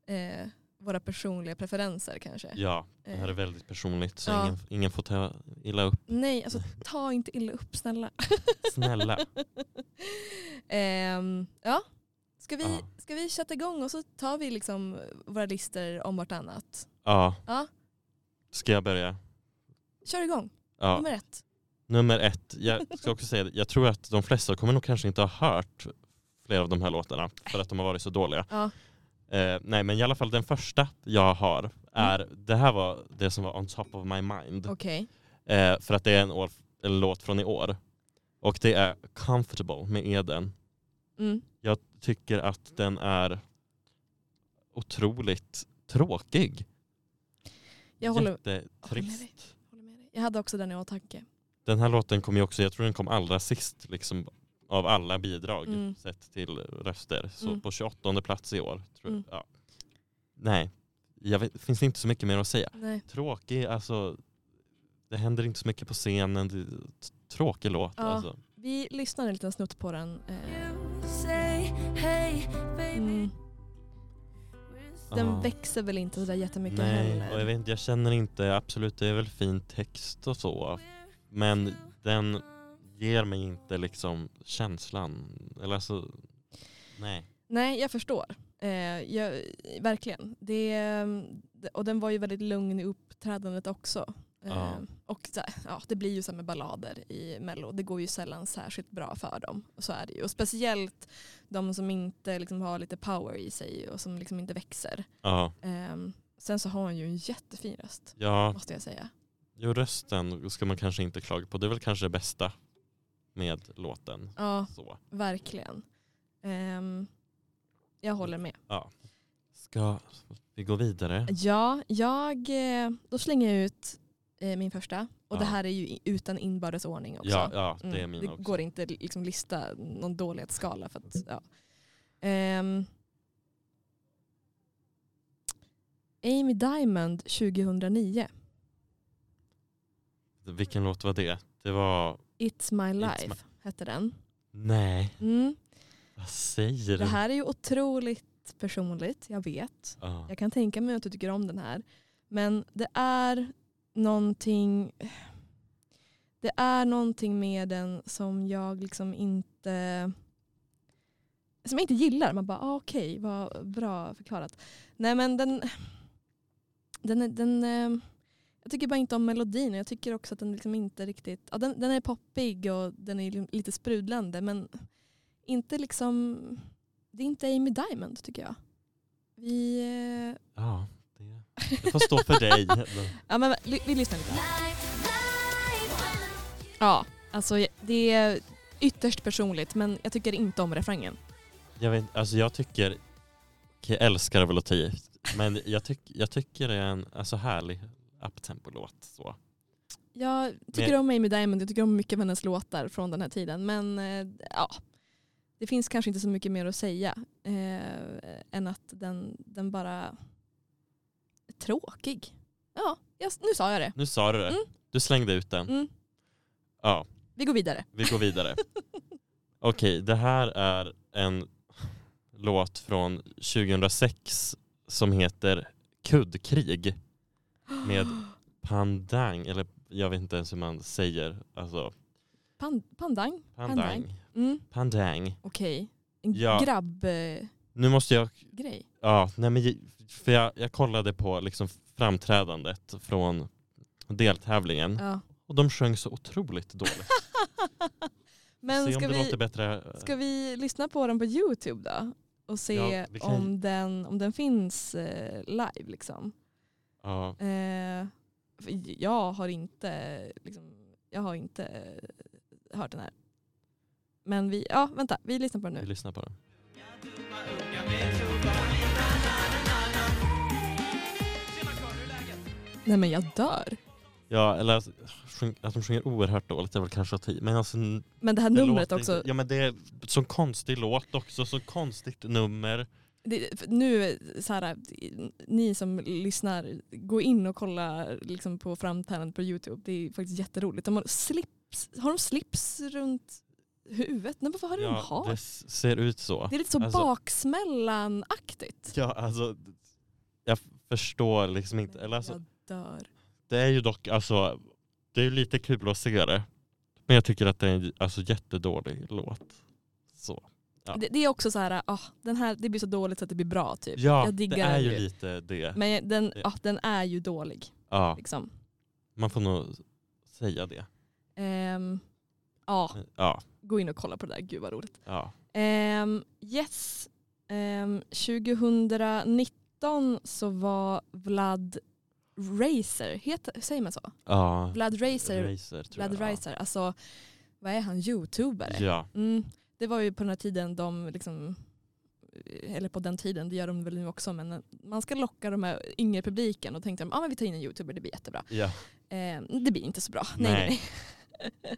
eh, våra personliga preferenser kanske. ja, det här är väldigt personligt så Eh. Ja. ingen, ingen får ta illa upp. Nej, alltså ta inte illa upp snälla. Snälla. Ehm, ja. Ska vi, Ja. ska vi chatta igång och så tar vi liksom våra listor om vartannat? Ja. Ja. Ska jag börja? Kör igång, Ja. nummer ett. Nummer ett, jag ska också säga det, jag tror att de flesta kommer nog kanske inte ha hört flera av de här låtarna för att de har varit så dåliga. Ja. Eh, nej men i alla fall den första jag Mm. har är, det här var det som var on top of my mind. Okej. Eh, för att det är en, år, en låt från i år. Och det är Comfortable med Eden. Mm. Jag tycker att den är otroligt tråkig. Jag håller, Jättetrist. håller med dig. Jag hade också den i åtanke. Den här låten kom ju också, jag tror den kom allra sist liksom, av alla bidrag Mm. sett till röster. Så Mm. på 28 plats i år. Tror Mm. jag. Ja. Nej, jag vet, finns det inte så mycket mer att säga. Nej. Tråkig, alltså det händer inte så mycket på scenen. Det, t- tråkig låt Ja. alltså. Vi lyssnar en liten snutt på den. eh, Mm. Mm. Den Ja. växer väl inte sådär jättemycket Nej, heller. och jag, vet, inte, jag känner inte, absolut det är väl fin text och så. Men den ger mig inte liksom känslan. Eller alltså, nej. Nej, jag förstår. Eh, jag, verkligen. Det, och den var ju väldigt lugn i uppträdandet också. Eh, Ja. och så här, ja, det blir ju som med ballader i Mello. Det går ju sällan särskilt bra för dem. Och så är det ju. Och speciellt de som inte liksom, har lite power i sig och som liksom inte växer. Ja, Eh, sen så har hon ju en jättefin röst, ja måste jag säga. jo, rösten ska man kanske inte klaga på. Det är väl kanske det bästa med låten. Ja, Så. verkligen. Ehm, jag håller med. Ska vi gå vidare? Ja, jag, eh, då slänger jag ut eh, min första. Och det Ja. här är ju i- utan inbördes ordning också. Ja, ja, det är Mm, min det också. går inte att liksom lista någon dålighetsskala. För att, ja. Ehm. Amy Diamond 2009, Vilken låt var det? Det var, It's My It's Life hette den. nej, Mm. vad säger Det du? här är ju otroligt personligt, jag vet. Ja. Jag kan tänka mig att du tycker om den här. Men det är någonting det är någonting med den som jag liksom inte som jag inte gillar. Man bara ah, okej, vad bra förklarat. Nej men den, den, är- den eh, jag tycker bara inte om melodin och jag tycker också att den liksom inte riktigt, ja, den, den är poppig och den är liksom lite sprudlande men inte liksom, det är inte Amy Diamond tycker jag. Vi, eh, Ja, det, det får stå för dig. ja, men, vi, vi lyssnar lite. Ja, alltså det är ytterst personligt men jag tycker inte om refrängen. Jag, vet, alltså jag tycker, okej, jag älskar det väl att ta i, men jag, tyck, jag tycker det är en alltså, härlig uptempo-låt. Så. Jag tycker Men- om Amy Diamond, jag tycker om mycket av hennes låtar från den här tiden men eh, ja, det finns kanske inte så mycket mer att säga eh, än att den, den bara är tråkig. Ja, jag, nu sa jag det. Nu sa du det, Mm. du slängde ut den. Mm, Ja, vi går vidare. vi går vidare. Okej, det här är en låt från 2006 som heter Kuddkrig med Pandang, eller jag vet inte ens hur man säger, alltså Pan, pandang? Pandang. Mm, Pandang. Okej, en Ja. grabbgrej. Nu måste jag grej. Ja, nej men, ge- för jag, jag kollade på liksom framträdandet från deltävlingen ja. och de sjöng så otroligt dåligt. Men Se om ska det vi, låter bättre. Ska vi lyssna på den på Youtube då? Och se Ja, vi kan- om, den, om den finns eh, live liksom. Ja, Eh, för jag har inte, liksom, jag har inte eh, hört den här. Men vi, ja vänta, vi lyssnar på den vi nu. lyssnar på den. Nej men jag dör. Ja, eller att, sjung, att de sjunger oerhört dåligt är väl kanske att ta i, men alltså, n- Men det här det numret låter också, Inte, ja men det är så konstig låt också, så konstigt nummer. det, för nu så här, ni som lyssnar, gå in och kolla liksom, på framträdandet på Youtube. Det är faktiskt jätteroligt. De har, slips, har de slips runt huvudet? Nej, men vad har de ja, har? det s- ser ut så. Det är lite så Alltså- baksmällanaktigt. Ja, alltså, jag förstår liksom inte. Eller alltså, Jag dör. Det är ju dock, alltså, det är ju lite kul att se det. Men jag tycker att det är en alltså, jättedålig låt. Så. Ja. Det, det är också så här, ah, den här, det blir så dåligt så att det blir bra typ. Ja, jag diggar det är den ju lite det. Men den, Det- ah, den är ju dålig. Ja, Liksom. man får nog säga det. Ehm, ja, Ja, gå in och kolla på det där, gud vad roligt. ja. Ehm, yes, Ehm, 2019 så var Vlad Racer, heter, säger man så? ja. Vlad Racer, Racer, tror Vlad jag. Racer, alltså vad är han, youtubare? Ja, Mm, det var ju på den här tiden de liksom eh, eller på den tiden, det gör de väl nu också, men eh, man ska locka de här yngre publiken och tänkte de, ah, men vi tar in en youtuber, det blir jättebra. ja. Eh, det blir inte så bra. Nej, Nej. nej.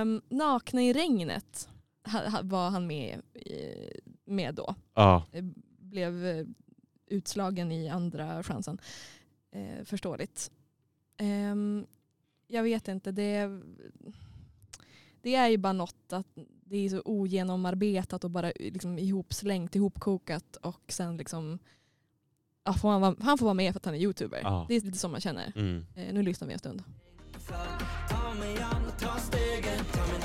Ehm, nakna i regnet ha- ha- var han med, i- med då. Ja, Eh, Blev eh, utslagen i andra chansen. Eh, förståeligt. Ehm, jag vet inte, det, det är ju bara något att det är så ogenomarbetat och bara liksom ihopslängt, ihopkokat och sen liksom ja, får han, vara, han får vara med för att han är youtuber. Ja. Det är lite så man känner. mm. Eh, nu lyssnar vi en stund. Ta mig an, ta stegen, ta mig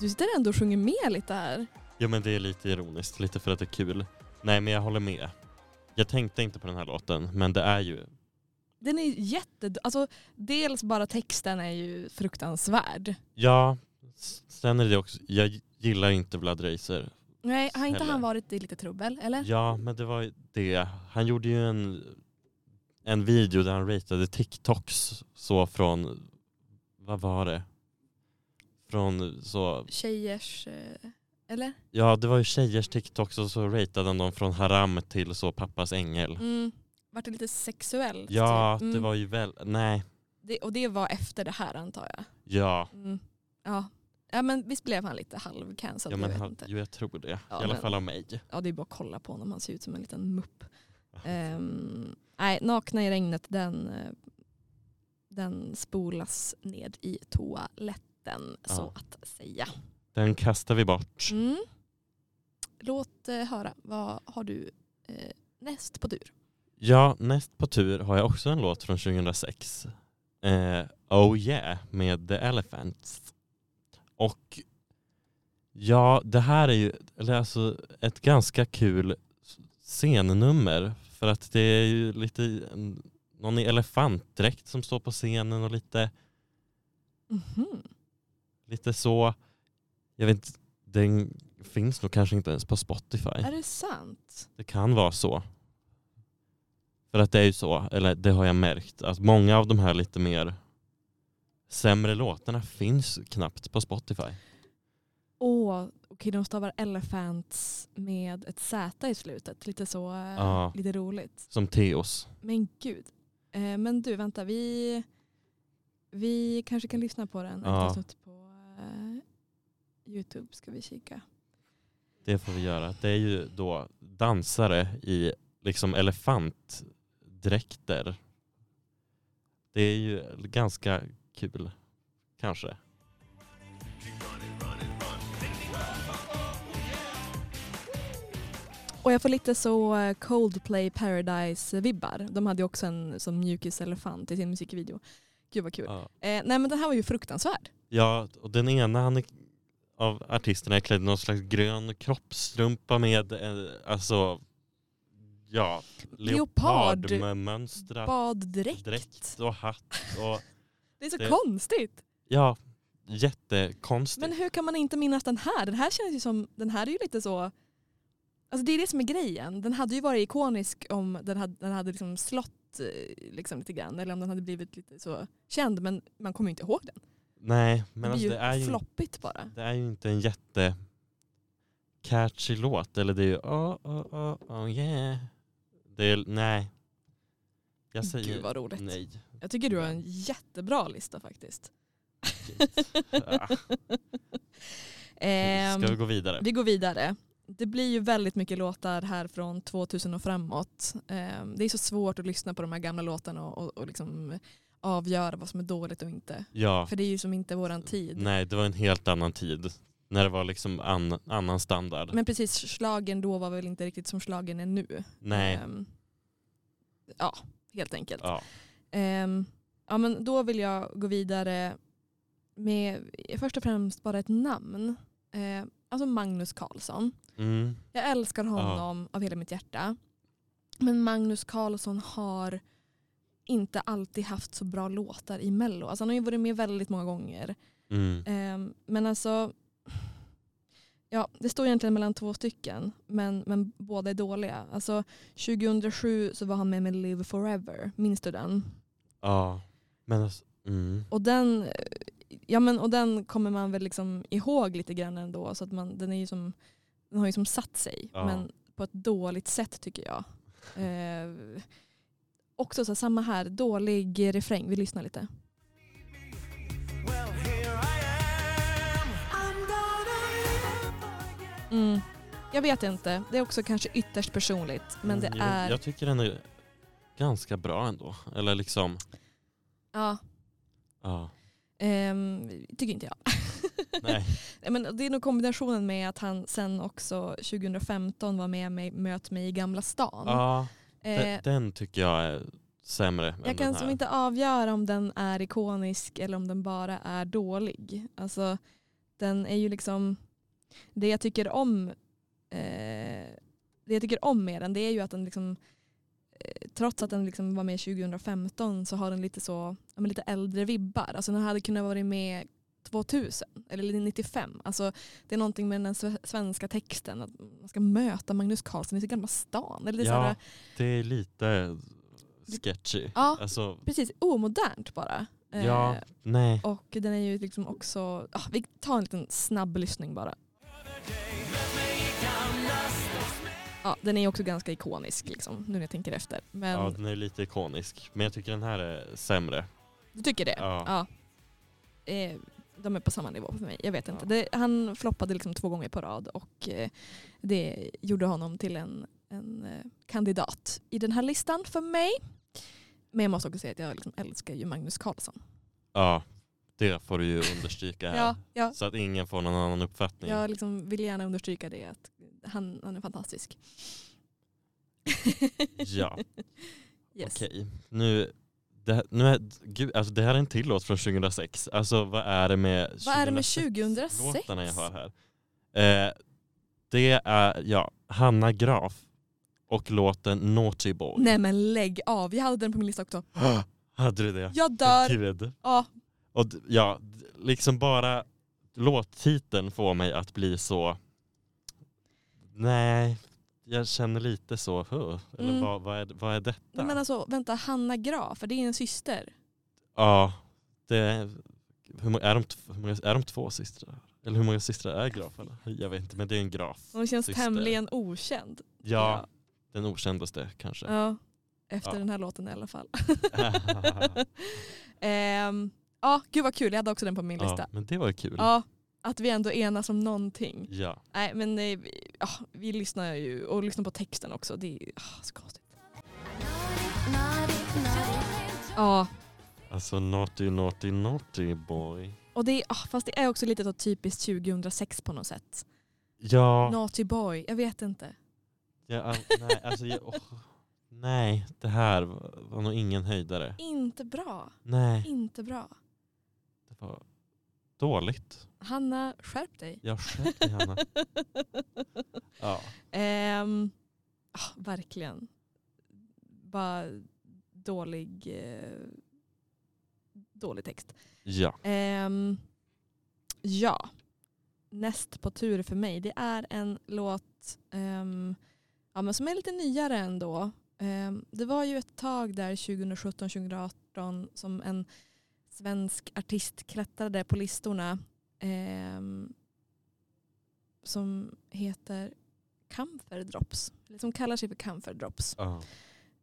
Du sitter ändå och sjunger med lite här. ja men det är lite ironiskt, lite för att det är kul. Nej men jag håller med. Jag tänkte inte på den här låten, men det är ju Den är jätte... Alltså, dels bara texten är ju fruktansvärd. Ja, s- sen är det också, jag gillar inte Vlad Reiser. Nej, har inte Heller. han varit i lite trubbel? Eller? Ja, men det var ju det. Han gjorde ju en, en video där han ratade TikToks så från, vad var det? Från så, Tjejers... eh, Eller? ja det var ju tjejers TikToks och så ratade han dem från haram till så pappas ängel. Mm. Vart det lite sexuellt? Ja, typ? det var ju väl, nej, det, och det var efter det här antar jag. ja. Mm. Ja. ja, men visst blev han lite halvcancelled? Ja, men jag vet han, inte. jo, jag tror det. Ja, I alla men- fall av mig. Ja, det är bara att kolla på honom. Han ser ut som en liten mupp. Ehm, Alltså. nej, Nakna i regnet, den, eh, den spolas ned i toaletten Ja. så att säga. Den kastar vi bort. Mm. Låt eh, höra, vad har du eh, näst på tur? Ja, näst på tur har jag också en låt från 2006. Eh, oh yeah med The Elephants. Och ja, det här är ju eller alltså ett ganska kul s- scennummer för att det är ju lite mm, någon i elefantdräkt som står på scenen och lite, Mhm. lite så. Jag vet inte, den finns nog kanske inte ens på Spotify. Är det sant? Det kan vara så. För att det är ju så, eller det har jag märkt, att många av de här lite mer sämre låtarna finns knappt på Spotify. Åh, okej de stavar Elephants med ett Z i slutet. Lite så, eh, Ja. lite roligt. Som Teos. Men gud. Eh, men du, vänta, vi, vi kanske kan lyssna på den. Ja. Ja. Snutt på eh, Youtube ska vi kika. Det får vi göra. Det är ju då dansare i liksom elefantdräkter. Det är ju ganska kul, kanske. Och jag får lite så eh, Coldplay Paradise-vibbar. De hade ju också en som mjukis-elefant i sin musikvideo. Gud vad kul. Ja. Eh, nej men den här var ju fruktansvärd. Ja, och den ena han är, av artisterna är klädd i någon slags grön kroppsstrumpa med eh, alltså ja, Leopard. leopardmönstrat Baddräkt. dräkt och hatt och Det är så Det- konstigt. ja, jättekonstigt. Men hur kan man inte minnas den här? Den här känns ju som, den här är ju lite så, alltså det är det som är grejen. Den hade ju varit ikonisk om den hade, den hade liksom slått eh, liksom lite grann eller om den hade blivit lite så känd men man kommer ju inte ihåg den. Nej, men det alltså, det, är blir ju ju, floppigt bara. det är ju inte en jätte catchy låt eller det är ju oh, oh, oh, oh yeah. Det är, nej. Jag säger Gud vad roligt. nej. Jag tycker du har en jättebra lista faktiskt. Ah, Ehm, Ska vi gå vidare? Vi går vidare. Det blir ju väldigt mycket låtar här från 2000 och framåt. Ehm, Det är så svårt att lyssna på de här gamla låtarna och, och, och liksom avgöra vad som är dåligt och inte. Ja. För det är ju som inte våran tid. Nej, det var en helt annan tid. När det var liksom an, annan standard. Men precis, slagen då var väl inte riktigt som slagen är nu. Nej. Ehm, Ja, helt enkelt. Ja. Ehm, ja, men då vill jag gå vidare med först och främst bara ett namn. Ehm, alltså Magnus Carlsson. Mm. Jag älskar honom av hela mitt hjärta. Men Magnus Carlsson har inte alltid haft så bra låtar i Mello. Alltså han har ju varit med väldigt många gånger. Mm. Ehm, men alltså, ja, det står egentligen mellan två stycken, men, men båda är dåliga. Alltså, 2007 så var han med med Live Forever, minns du den? Ja. Men alltså, mm. Och den, eh, ja, men, och den kommer man väl liksom ihåg lite grann ändå, så att man, den, är ju som, den har ju som satt sig, Ja. men på ett dåligt sätt tycker jag. Ehm, också så, här, samma här, dålig refräng, vi lyssnar lite. an. Mm. Jag vet inte. Det är också kanske ytterst personligt. Men det Mm, jag, är... jag tycker den är ganska bra ändå. Eller liksom, Ja, ja. ehm, tycker inte jag. Nej. Nej, Men det är nog kombinationen med att han sen också 2015 var med mig Möt mig i Gamla stan. ja Eh, den, den tycker jag är sämre än jag den kan här. som inte avgöra om den är ikonisk eller om den bara är dålig. Alltså, den är ju liksom... Det jag tycker om eh, det jag tycker om med den det är ju att den liksom eh, trots att den liksom var med 2015 så har den lite så ja, men lite äldre vibbar. Alltså den hade kunnat vara med 2000 eller 95. Alltså det är någonting med den sve- svenska texten att man ska möta Magnus Carlsen i sin gamla stan. Eller det är så ja, här, det är lite sketchy. Ja. Alltså, precis omodernt bara. Eh, ja, nej. Och den är ju liksom också, ah, vi tar en liten snabb lyssning bara. Ja, den är ju också ganska ikonisk liksom, nu när jag tänker efter. Men Ja, den är lite ikonisk. Men jag tycker den här är sämre. du tycker det? Ja. Eh, de är på samma nivå för mig, jag vet inte. Det, han floppade liksom två gånger på rad och eh, det gjorde honom till en, en eh, kandidat i den här listan för mig. Men jag måste också säga att jag liksom älskar ju Magnus Carlsson. Ja, det får du ju understryka här. ja. Så att ingen får någon annan uppfattning. Jag liksom vill gärna understryka det, att han, han är fantastisk. Ja. Yes. Okej, nu, det, nu är, gud, alltså det här är en till låt från 2006. Alltså vad är det med Vad är det med 2006? 2006? låtarna jag har här? Eh, det är ja, Hanna Graf och låten Naughty Boy. Nej men lägg av, jag hade den på min lista också. Hade du det? Jag dör! Ah, Gud. Ja, Och d- ja, d- liksom bara låttiteln får mig att bli så Nej, jag känner lite så, huh, eller Mm. vad, vad, är, vad är detta? men alltså vänta, Hanna Graf, för det är en syster. Ja, det, hur, många, är de, tv- hur många, är de två systrar? Eller hur många systrar är Graf? Eller? Jag vet inte, men det är en Graf. Hon känns Syster. tämligen okänd. Ja, den okändaste kanske. ja. Efter Ja. Ah. den här låten i alla fall. Ehm, ja, gud vad kul, jag hade också den på min ja, lista. men det var ju Ah, kul. Ja, att vi ändå enas om någonting. Ja. Nej men eh, vi, ja, vi lyssnar ju, och lyssnar på texten också. Det är ah, så konstigt. Ja, Alltså naughty, naughty, naughty boy. Och det är, ah, fast det är också lite då typiskt 2006 på något sätt. Ja, Naughty boy, jag vet inte. ja ah, nej, alltså, jag, åh. nej, det här var var nog ingen höjdare. Inte bra, Nej, inte bra. det var dåligt. Hanna, skärp dig. Jag sköt mig, Hanna. Ja. Ehm, ah, verkligen. Bara dålig, eh, dålig text. ja. Ehm, ja, näst på tur för mig det är en låt ehm, ja, men som är lite nyare ändå. Ehm, det var ju ett tag där 2017-2018 som en svensk artist klättrade på listorna ehm, som heter Camphor Drops, eller som kallar sig för Camphor Drops. ja.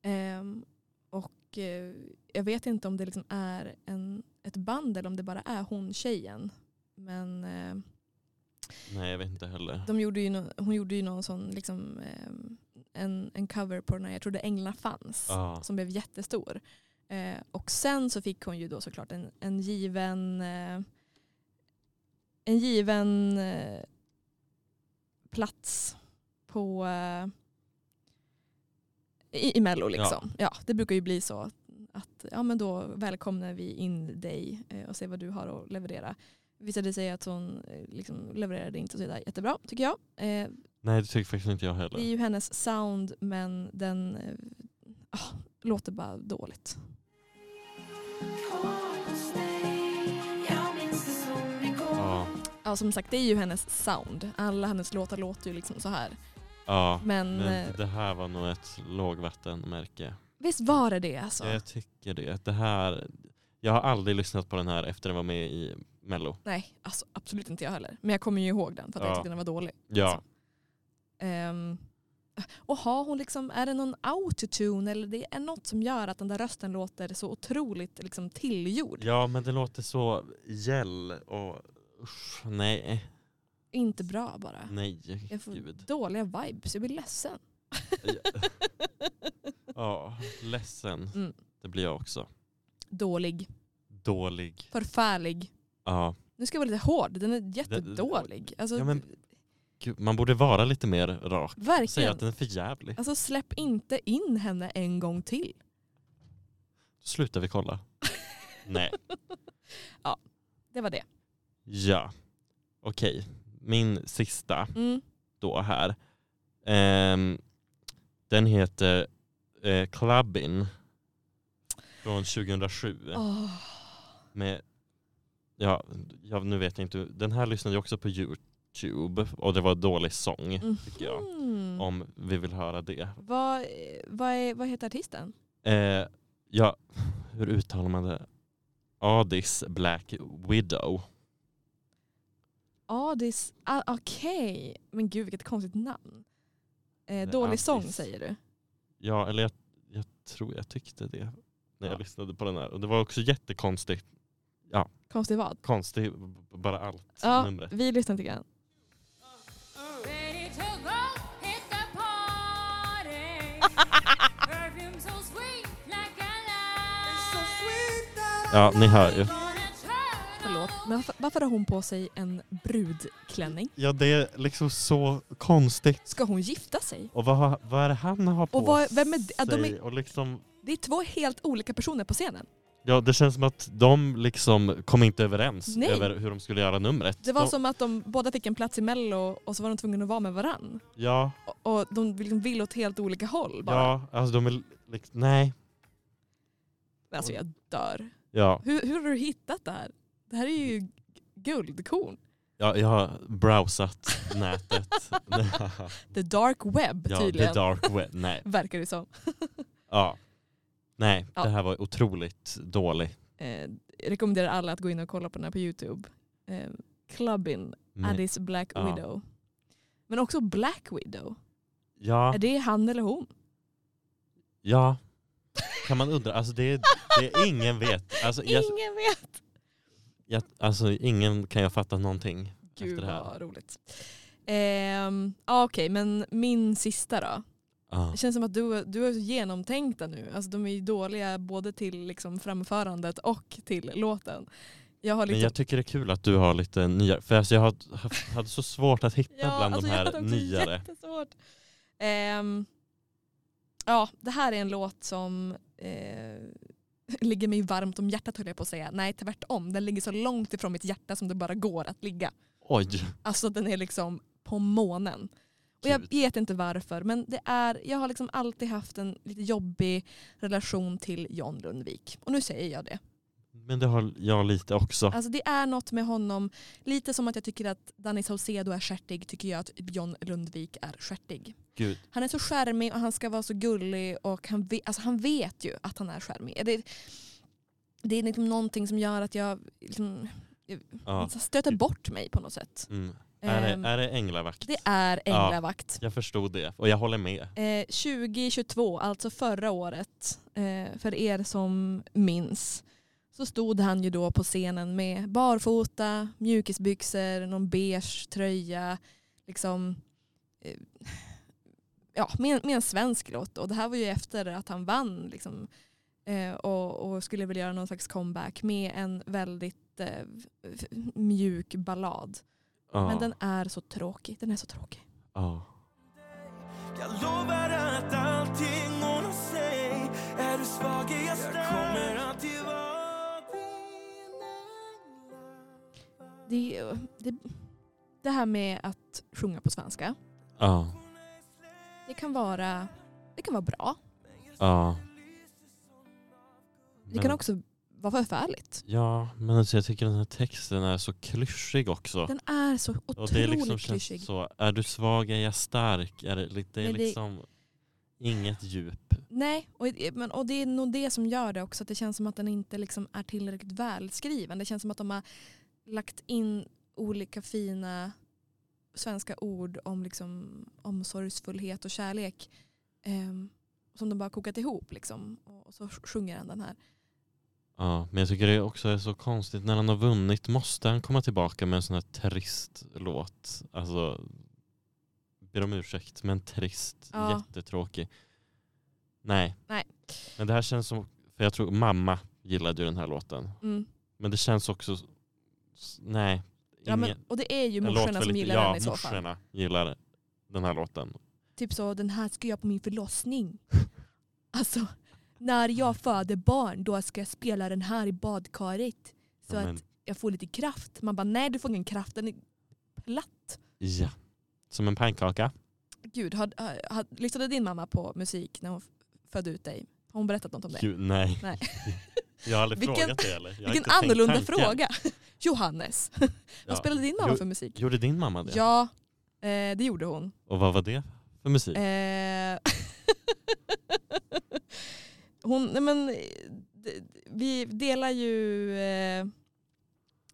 Ehm, och eh, jag vet inte om det liksom är en, ett band eller om det bara är hon tjejen. Men eh, Nej, jag vet inte heller. de gjorde ju nå- hon gjorde ju någon sån liksom, ehm, en, en cover på den här, jag trodde Änglarna fanns, Ja. som blev jättestor. Eh, och sen så fick hon ju då såklart en, en given, eh, en given eh, plats på eh, i, i Mello liksom. Ja. det brukar ju bli så att, att ja, men då välkomnar vi in dig eh, och ser vad du har att leverera. Visade sig att hon eh, liksom levererade inte så där jättebra tycker jag. Eh, Nej det tycker faktiskt inte jag det heller. är ju hennes sound men den eh, ah, låter bara dåligt. Ja, Ja som sagt det är ju hennes sound. Alla hennes låtar låter ju liksom så här. ja. Men, Men eh, det här var nog ett lågvattenmärke. visst var det det alltså? Jag tycker det. det här, jag har aldrig lyssnat på den här efter den var med i Mello. Nej alltså, absolut inte jag heller. Men jag kommer ju ihåg den för att Ja. jag tyckte den var dålig. Ja, Ehm, och har hon liksom, är det någon autotune eller det är något som gör att den där rösten låter så otroligt liksom tillgjord? ja men det låter så gäll och usch, nej. Inte bra bara. Mm. Nej, Jag får gud. dåliga vibes, jag blir ledsen. Ja, ledsen. Mm. Det blir jag också. Dålig, Dålig. förfärlig. Ja. Nu ska jag vara lite hård, den är jättedålig. Alltså, Ja, men- Gud, man borde vara lite mer rak. Säga verkligen. att den är för jävlig. Alltså släpp inte in henne en gång till. Då slutar vi kolla. Nej. Det var det. Ja. Okej. Min sista Mm. då här. Ehm, den heter eh, Clubbin. Från 2007. Åh. Med, ja, ja, nu vet jag inte. Den här lyssnade jag också på YouTube. Och det var dålig sång. Mm. tycker jag. Mhm. Om vi vill höra det. Mm. Vad, vad, är, vad heter artisten? Eh, ja, hur uttalar man det? Adis Black Widow. Adis, ah, okej. Men gud vilket konstigt namn. Eh, Nej, dålig Adis. sång säger du. Ja, eller jag, jag tror jag tyckte det när jag Ja. lyssnade på den här. Och det var också jättekonstigt. Konstig vad? Konstigt, b- b- bara allt. Ja, Numret. vi lyssnar lite grann. Ready to go, hit the party. Perfume so sweet, like a Ja, ni hör ju. Gonna turn Förlåt, men varför, varför har hon på sig en brudklänning? Ja, det är liksom så konstigt. Ska hon gifta sig? Och vad, har- vad är det han har på Och vad- vem är det? Ja, de är- sig? Och liksom, Det är två helt olika personer på scenen. ja, det känns som att de liksom kom inte överens Nej. över hur de skulle göra numret. Det var de, som att de båda fick en plats i mello och så var de tvungna att vara med varann. Ja, Och, och de liksom vill åt helt olika håll bara. ja, alltså de är... Liksom, nej. Men Alltså jag dör. Ja, Hur, hur har du hittat det här? Det här är ju g- guldkorn. ja jag har browsat nätet. The dark web ja, the tydligen. dark web. Nej. Verkar det som. Ja. Nej, Ja. det här var otroligt dålig. Eh, rekommenderar alla att gå in och kolla på den här på Youtube. Eh, Clubbin, Men- Addis Black Ja. Widow. Men också Black Widow. Ja, Är det han eller hon? ja. Kan man undra. Alltså det, det är ingen vet. Alltså, jag, Ingen vet. jag, alltså ingen kan jag fatta någonting. Gud det här. vad roligt. Ehm, ja, Okej, men min sista då. Ja. Det känns som att du, du är så genomtänkta nu. Alltså, de är ju dåliga både till liksom, framförandet och till låten. Jag har Men liksom, jag tycker det är kul att du har lite nya, för alltså jag har- haft- hade så svårt att hitta bland de alltså, jag hade här också nyare. Jättesvårt. Ehm, ja, det här är en låt som eh, ligger mig varmt om hjärtat höll jag på att säga. Nej, tvärtom. Den ligger så långt ifrån mitt hjärta som det bara går att ligga. Oj, Alltså den är liksom på månen. Och jag Gud. vet inte varför men det är, jag har liksom alltid haft en lite jobbig relation till John Lundvik. Och nu säger jag det. men det har jag lite också. Alltså det är något med honom, lite som att jag tycker att Danny Saucedo är stjärtig tycker jag att John Lundvik är stjärtig. Gud. Han är så skärmig och han ska vara så gullig och han, ve- alltså han vet ju att han är skärmig. Det, det är liksom någonting som gör att jag liksom, Ja. stöter bort mig på något sätt. Mm. Är, Ehm, det, är det änglavakt? det är Ja. änglavakt. Jag förstod det och jag håller med. Eh, 2022, alltså förra året, eh, för er som minns, så stod han ju då på scenen med barfota, mjukisbyxor, någon beige tröja, liksom, eh, ja, med, en- med en svensk låt. Och det här var ju efter att han vann liksom, eh, och, och skulle väl göra någon slags comeback med en väldigt eh, f- mjuk ballad. Ja. Men den är så tråkig, den är så tråkig. Ja. Jag lovar att allting ordnar sig Är du svag är jag stark Jag kommer alltid vara din änglavakt. det, det, det här med att sjunga på svenska, Ja. det kan vara, det kan vara bra. Ja. Det kan också vara förfärligt. Ja, men alltså jag tycker den här texten är så klyschig också. Den är så otroligt och det är liksom klyschig. känns så, är du svag är jag stark. Är det, li- det är Men det- liksom inget djup. Nej, och, men, och det är nog det som gör det också. Att det känns som att den inte liksom är tillräckligt välskriven. Det känns som att de har lagt in olika fina svenska ord om liksom omsorgsfullhet och kärlek ehm, som de bara kokat ihop. Liksom. Och, och så sjunger han den här. Ja, men jag tycker det också är så konstigt. När han har vunnit måste han komma tillbaka med en sån här trist låt. Alltså, ber om ursäkt, men trist, Ja. jättetråkig. Nej. Nej. Men det här känns som, för jag tror mamma gillade ju den här låten. Mm. Men det känns också, s- nej. Ja, men, ingen- och det är ju en låt morsorna för som lite- gillar ja, den i så fall. morsorna gillar den här låten. Typ så, den här ska jag på min förlossning. alltså, när Mm. jag föder barn då ska jag spela den här i badkaret. Så Ja, men- att jag får lite kraft. Man bara, nej du får ingen kraft, den är platt. Ja. Som en pannkaka. Gud, had, ha- ha- lyssnade din mamma på musik när hon f- födde ut dig? Har hon berättat något om det? Gud, nej. Nej. Jag har aldrig Vilken- frågat det eller? Jag har Vilken inte tänkt annorlunda tanken. fråga. Johannes, Ja. vad spelade din mamma Jo, för musik? Gjorde din mamma det? Ja, eh, det gjorde hon. Och vad var det för musik? Eh, hon, nej men, eh, d- d- vi delar ju eh,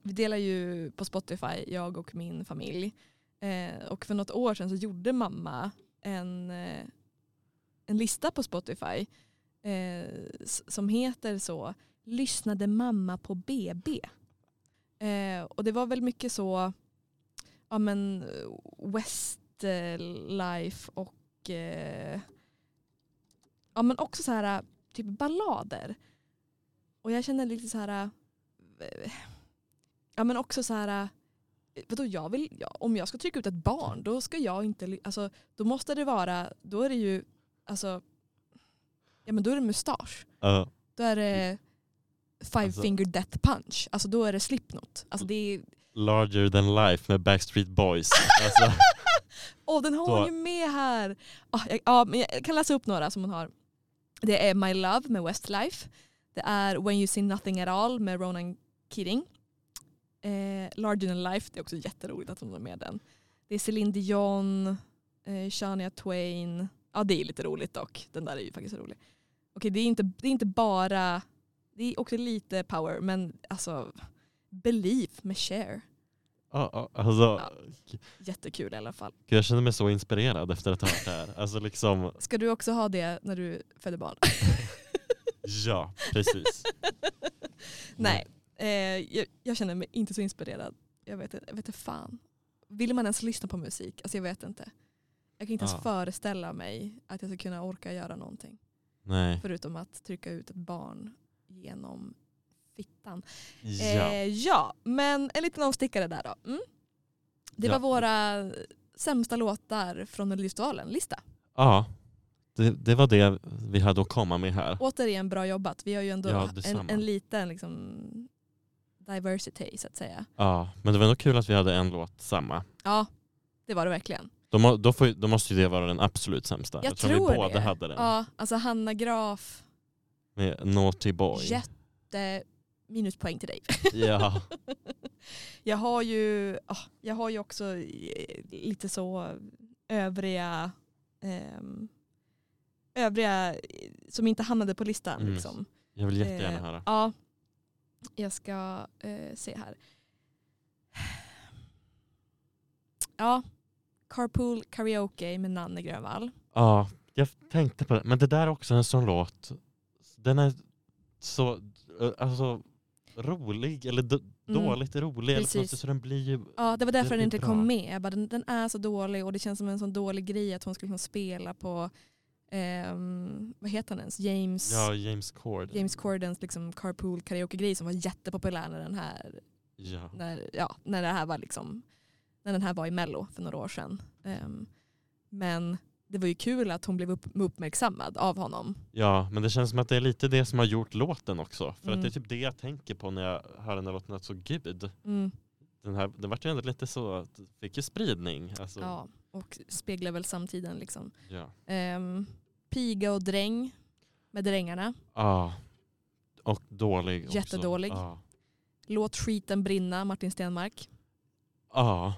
vi delar ju på Spotify, jag och min familj. Eh, och för något år sedan så gjorde mamma en, eh, en lista på Spotify eh, s- som heter så Lyssnade mamma på BB? Eh, och det var väl mycket så ja men Westlife och eh, ja men också så här typ ballader. Och jag känner lite så här eh, ja men också så här eh, vadå jag vill ja, om jag ska trycka ut ett barn då ska jag inte ly- alltså då måste det vara då är det ju alltså ja men då är det mustasch. Ja. Då är det Five Alltså- finger death punch. Alltså då är det Slipknot. Alltså det är larger than life med Backstreet Boys. alltså, Åh, den har Då- hon ju med här. Ah, jag, ja, men jag kan läsa upp några som hon har. Det är My Love med Westlife. Det är When You See Nothing At All med Ronan Keating. Eh, Larger Than Life, det är också jätteroligt att hon har med den. Det är Celine Dion, eh, Shania Twain. Ja, det är lite roligt dock. Den där är ju faktiskt rolig. Okej, det är inte, det är inte bara... Det är också lite power, men alltså... Believe med Cher. ja, ja, alltså, Jättekul i alla fall. gud, jag känner mig så inspirerad efter att ha hört det här. Alltså liksom, Ska du också ha det när du föder barn? ja precis. Nej, eh, jag, jag känner mig inte så inspirerad. Jag vet, inte- jag vet inte fan. Vill man ens lyssna på musik? Alltså jag vet inte. Jag kan inte Ja. ens föreställa mig att jag ska kunna orka göra någonting. Nej. Förutom att trycka ut ett barn genom fittan. Ja. Eh, ja, men en liten avstickare där då. Mm. Det Ja. var våra sämsta låtar från Melodifestivalen-lista. ja. Det, det var det vi hade att komma med här. Återigen bra jobbat. Vi har ju ändå Ja, en, detsamma. en liten liksom, diversity så att säga. Ja, men det var ändå kul att vi hade en låt samma. Ja, det var det verkligen. Då, må, då, får, ju- då måste ju det vara den absolut sämsta. Jag eftersom tror vi båda det. hade den. Ja, alltså Hanna Graf, Med Naughty Boy. jätte minuspoäng till dig. Ja. Jag har ju, ah, jag har ju också eh, lite så övriga, ehm, övriga eh, som inte hamnade på listan. Mm. Liksom. Jag vill jättegärna Eh, höra. Ja, jag ska eh, se här. Ja, Carpool Karaoke med Nanne Grönvall. Ja, jag tänkte på det. Men det där är också en sån låt. Den är så eh, alltså, rolig, eller d- dåligt rolig. Eller Mm. precis. konstigt, så den blir ju... Ja, det var därför Den den är inte bra. kom med. Jag bara, den, den är så dålig och det känns som en sån dålig grej att hon skulle kunna spela på, ehm, vad heter han ens, James, Ja, James Cord. James Cordens liksom carpool karaoke-grej som var jättepopulär när den här, Ja. när, ja, när det här var liksom, när den här var i Mello för några år sedan. Ehm, men det var ju kul att hon blev upp, uppmärksammad av honom. ja, men det känns som att det är lite det som har gjort låten också. För Mm. att det är typ det jag tänker på när jag hör den här låten. Att så gud, Mm, den här den vart ju ändå lite så, att det fick ju spridning. Alltså, ja, och speglar väl samtiden liksom. ja. Ehm, piga och dräng med Drängarna. Ja. Och dålig också. Jättedålig. Ja. Låt skiten brinna, Martin Stenmark. Ja.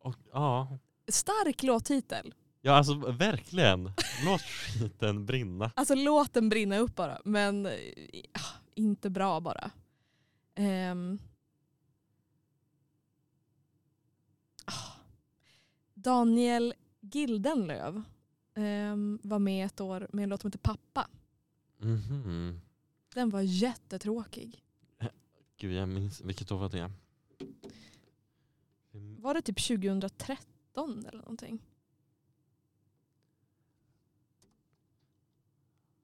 Och, ja. Stark låttitel. Ja alltså verkligen. Låt skiten brinna. Alltså låt den brinna upp bara. Men eh, ah, inte bra bara. Ehm. Ah. Daniel Gildenlöv ehm, var med ett år med en låt som heter Pappa. Mhm. Den var jättetråkig. Gud jag minns, vilket år var det? Mm, Var det typ 2013 eller någonting?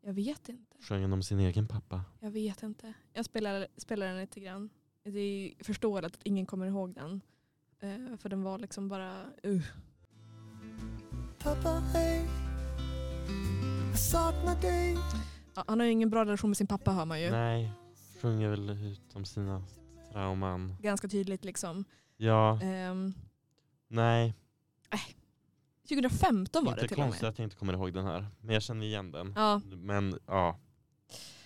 Jag vet inte. Sjöng han om sin egen pappa? Jag vet inte. Jag spelar, spelar den lite grann. Det är förståeligt att ingen kommer ihåg den. Eh, för den var liksom bara... Uh. Pappa, hej. Jag saknar dig. Ja, han har ju ingen bra relation med sin pappa hör man ju. Nej, sjunger väl ut om sina trauman. Ganska tydligt liksom. Ja, Ehm, nej. 2015 var Inte det till konstigt och med. att jag inte kommer ihåg den här. Men jag känner igen den. Ja, Men ja.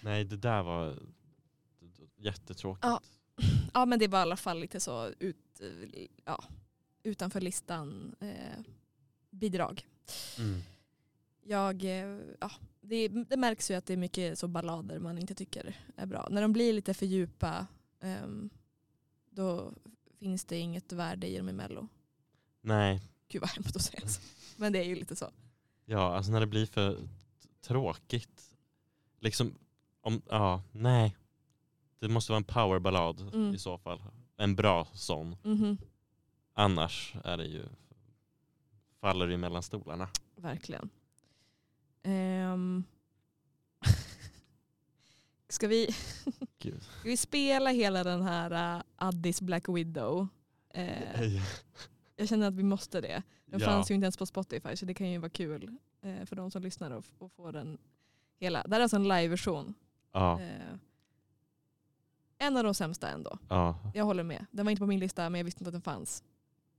Nej det där var jättetråkigt. Ja. ja, men det var i alla fall lite så ut, eh, ja, utanför listan eh, bidrag. Mm. Jag, eh, ja, det, det märks ju att det är mycket så ballader man inte tycker är bra. När de blir lite för djupa ehm, då finns det inget värde i dem i Mello. Nej, Gud vad hemskt att säga så. Men det är ju lite så. ja alltså när det blir för t- tråkigt. Liksom, om, ja, nej. Det måste vara en powerballad Mm. i så fall. En bra sån. Mhm. Annars är det ju, faller det ju mellan stolarna. Verkligen. Ehm. Ska vi, Gud. ska vi spela hela den här eh, Addis Black Widow? Eh, jag känner att vi måste det. Den fanns ju inte ens på Spotify så det kan ju vara kul eh, för de som lyssnar och, f- och få den hela. Det här är alltså en live-version. Ja, Eh, en av de sämsta ändå. ja. Jag håller med. Den var inte på min lista men jag visste inte att den fanns.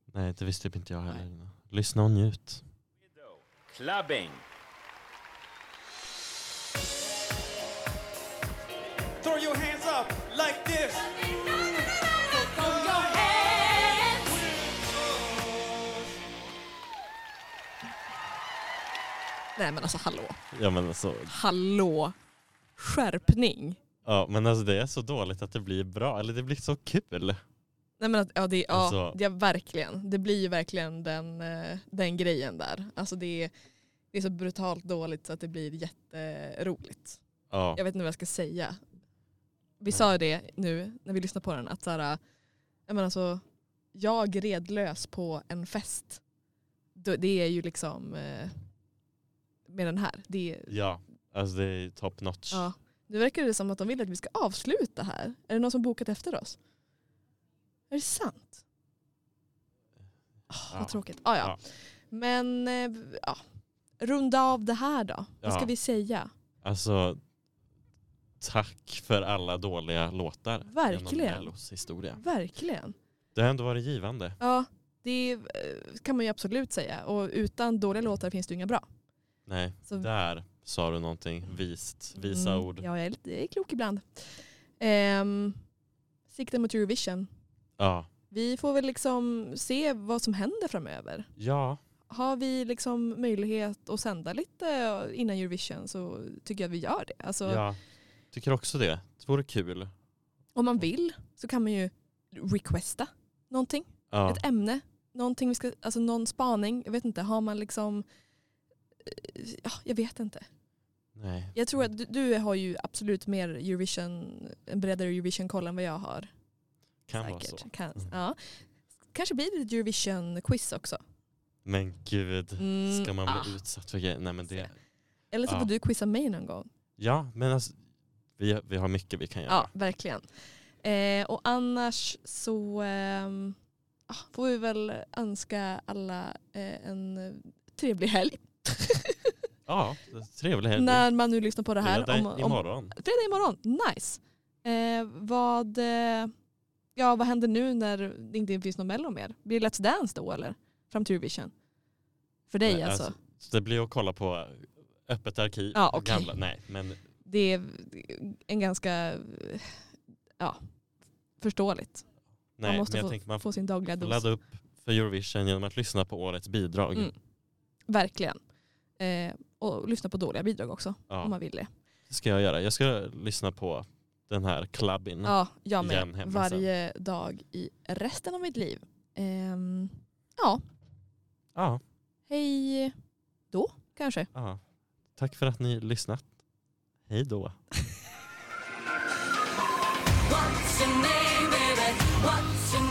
Nej det visste typ inte jag heller Nej. innan. Lyssna och njut. Clubbing. Throw your hands up like this. Nej men alltså hallå. Ja men alltså, Hallå. Skärpning. ja, men alltså det är så dåligt att det blir bra. Eller det blir så kul. Nej men att, ja, det, ja, Alltså- det, ja verkligen. Det blir ju verkligen den, eh, den grejen där. Alltså det, är- det är så brutalt dåligt så att det blir jätteroligt. Ja. Jag vet inte vad jag ska säga. Vi sa ju det nu när vi lyssnade på den att så här, jag menar så, jag redlös på en fest. Då- Det är ju liksom eh, med den här. Det är, Ja, alltså det är top notch. ja. Nu verkar det som att de vill att vi ska avsluta här. Är det någon som bokat efter oss? Är det sant? Ja. Vad tråkigt. Ah, ja. Ja. Men eh, ja. runda av det här då. Vad ska Ja. vi säga? Alltså, tack för alla dåliga låtar. genom Verkligen. Mellos historia. Verkligen. Det har ändå varit givande. Ja, det eh, kan man ju absolut säga. Och utan dåliga låtar finns det ju inga bra. Nej, Så- där sa du någonting vist. Visa Mm, ord. Ja. Ja, jag är, lite, jag är klok ibland. Ehm, sikta mot Eurovision. ja. Vi får väl liksom se vad som händer framöver. Har vi liksom möjlighet att sända lite innan Eurovision så tycker jag att vi gör det. Alltså, ja. Tycker också det. Det vore kul. Om man vill så kan man ju requesta någonting. Ja. ett ämne, någonting vi ska, alltså någon spaning, jag vet inte, har man liksom, eh, ja, jag vet inte. Nej. Jag tror att du, du har ju absolut mer Eurovision, en bredare Eurovision-koll än vad jag har. kan säkert. vara så. Kan, Mm. ja. Kanske blir det ett Eurovision-quiz också. Men gud, Mm, ska man bli ah. utsatt för grejer? Nej men det. Eller så Ja. får du quizza mig någon gång. Ja, men alltså, vi, vi har mycket vi kan Ja, göra. verkligen. Eh, och annars så ehm, ja, får vi väl önska alla eh, en trevlig helg. Ja, trevlig helg. När man nu lyssnar på det här. Fredag om, om, imorgon. Fredag imorgon, nice. Eh, vad, eh, ja, vad händer nu när det inte finns någon Mello mer? Blir det Let's Dance då eller? Fram till Eurovision? För dig Nej, alltså. alltså- Så det blir att kolla på öppet arkiv. Ja, okej. gamla, nej, men Det är en ganska, eh, ja, förståeligt. Nej, man måste men jag få, tänker man få får sin dagliga dos. ladda upp för Eurovision genom att lyssna på årets bidrag. Mm. Verkligen. Eh, och lyssna på dåliga bidrag också om man Ja, vill det. det ska jag göra. Jag ska lyssna på den här clubbin. Ja, jag Mm. Igen med. hemma Varje dag i resten av mitt liv. Ehm, ja, Ja, hej då kanske. ja. Tack för att ni lyssnat. Hej då. your name, baby? What's your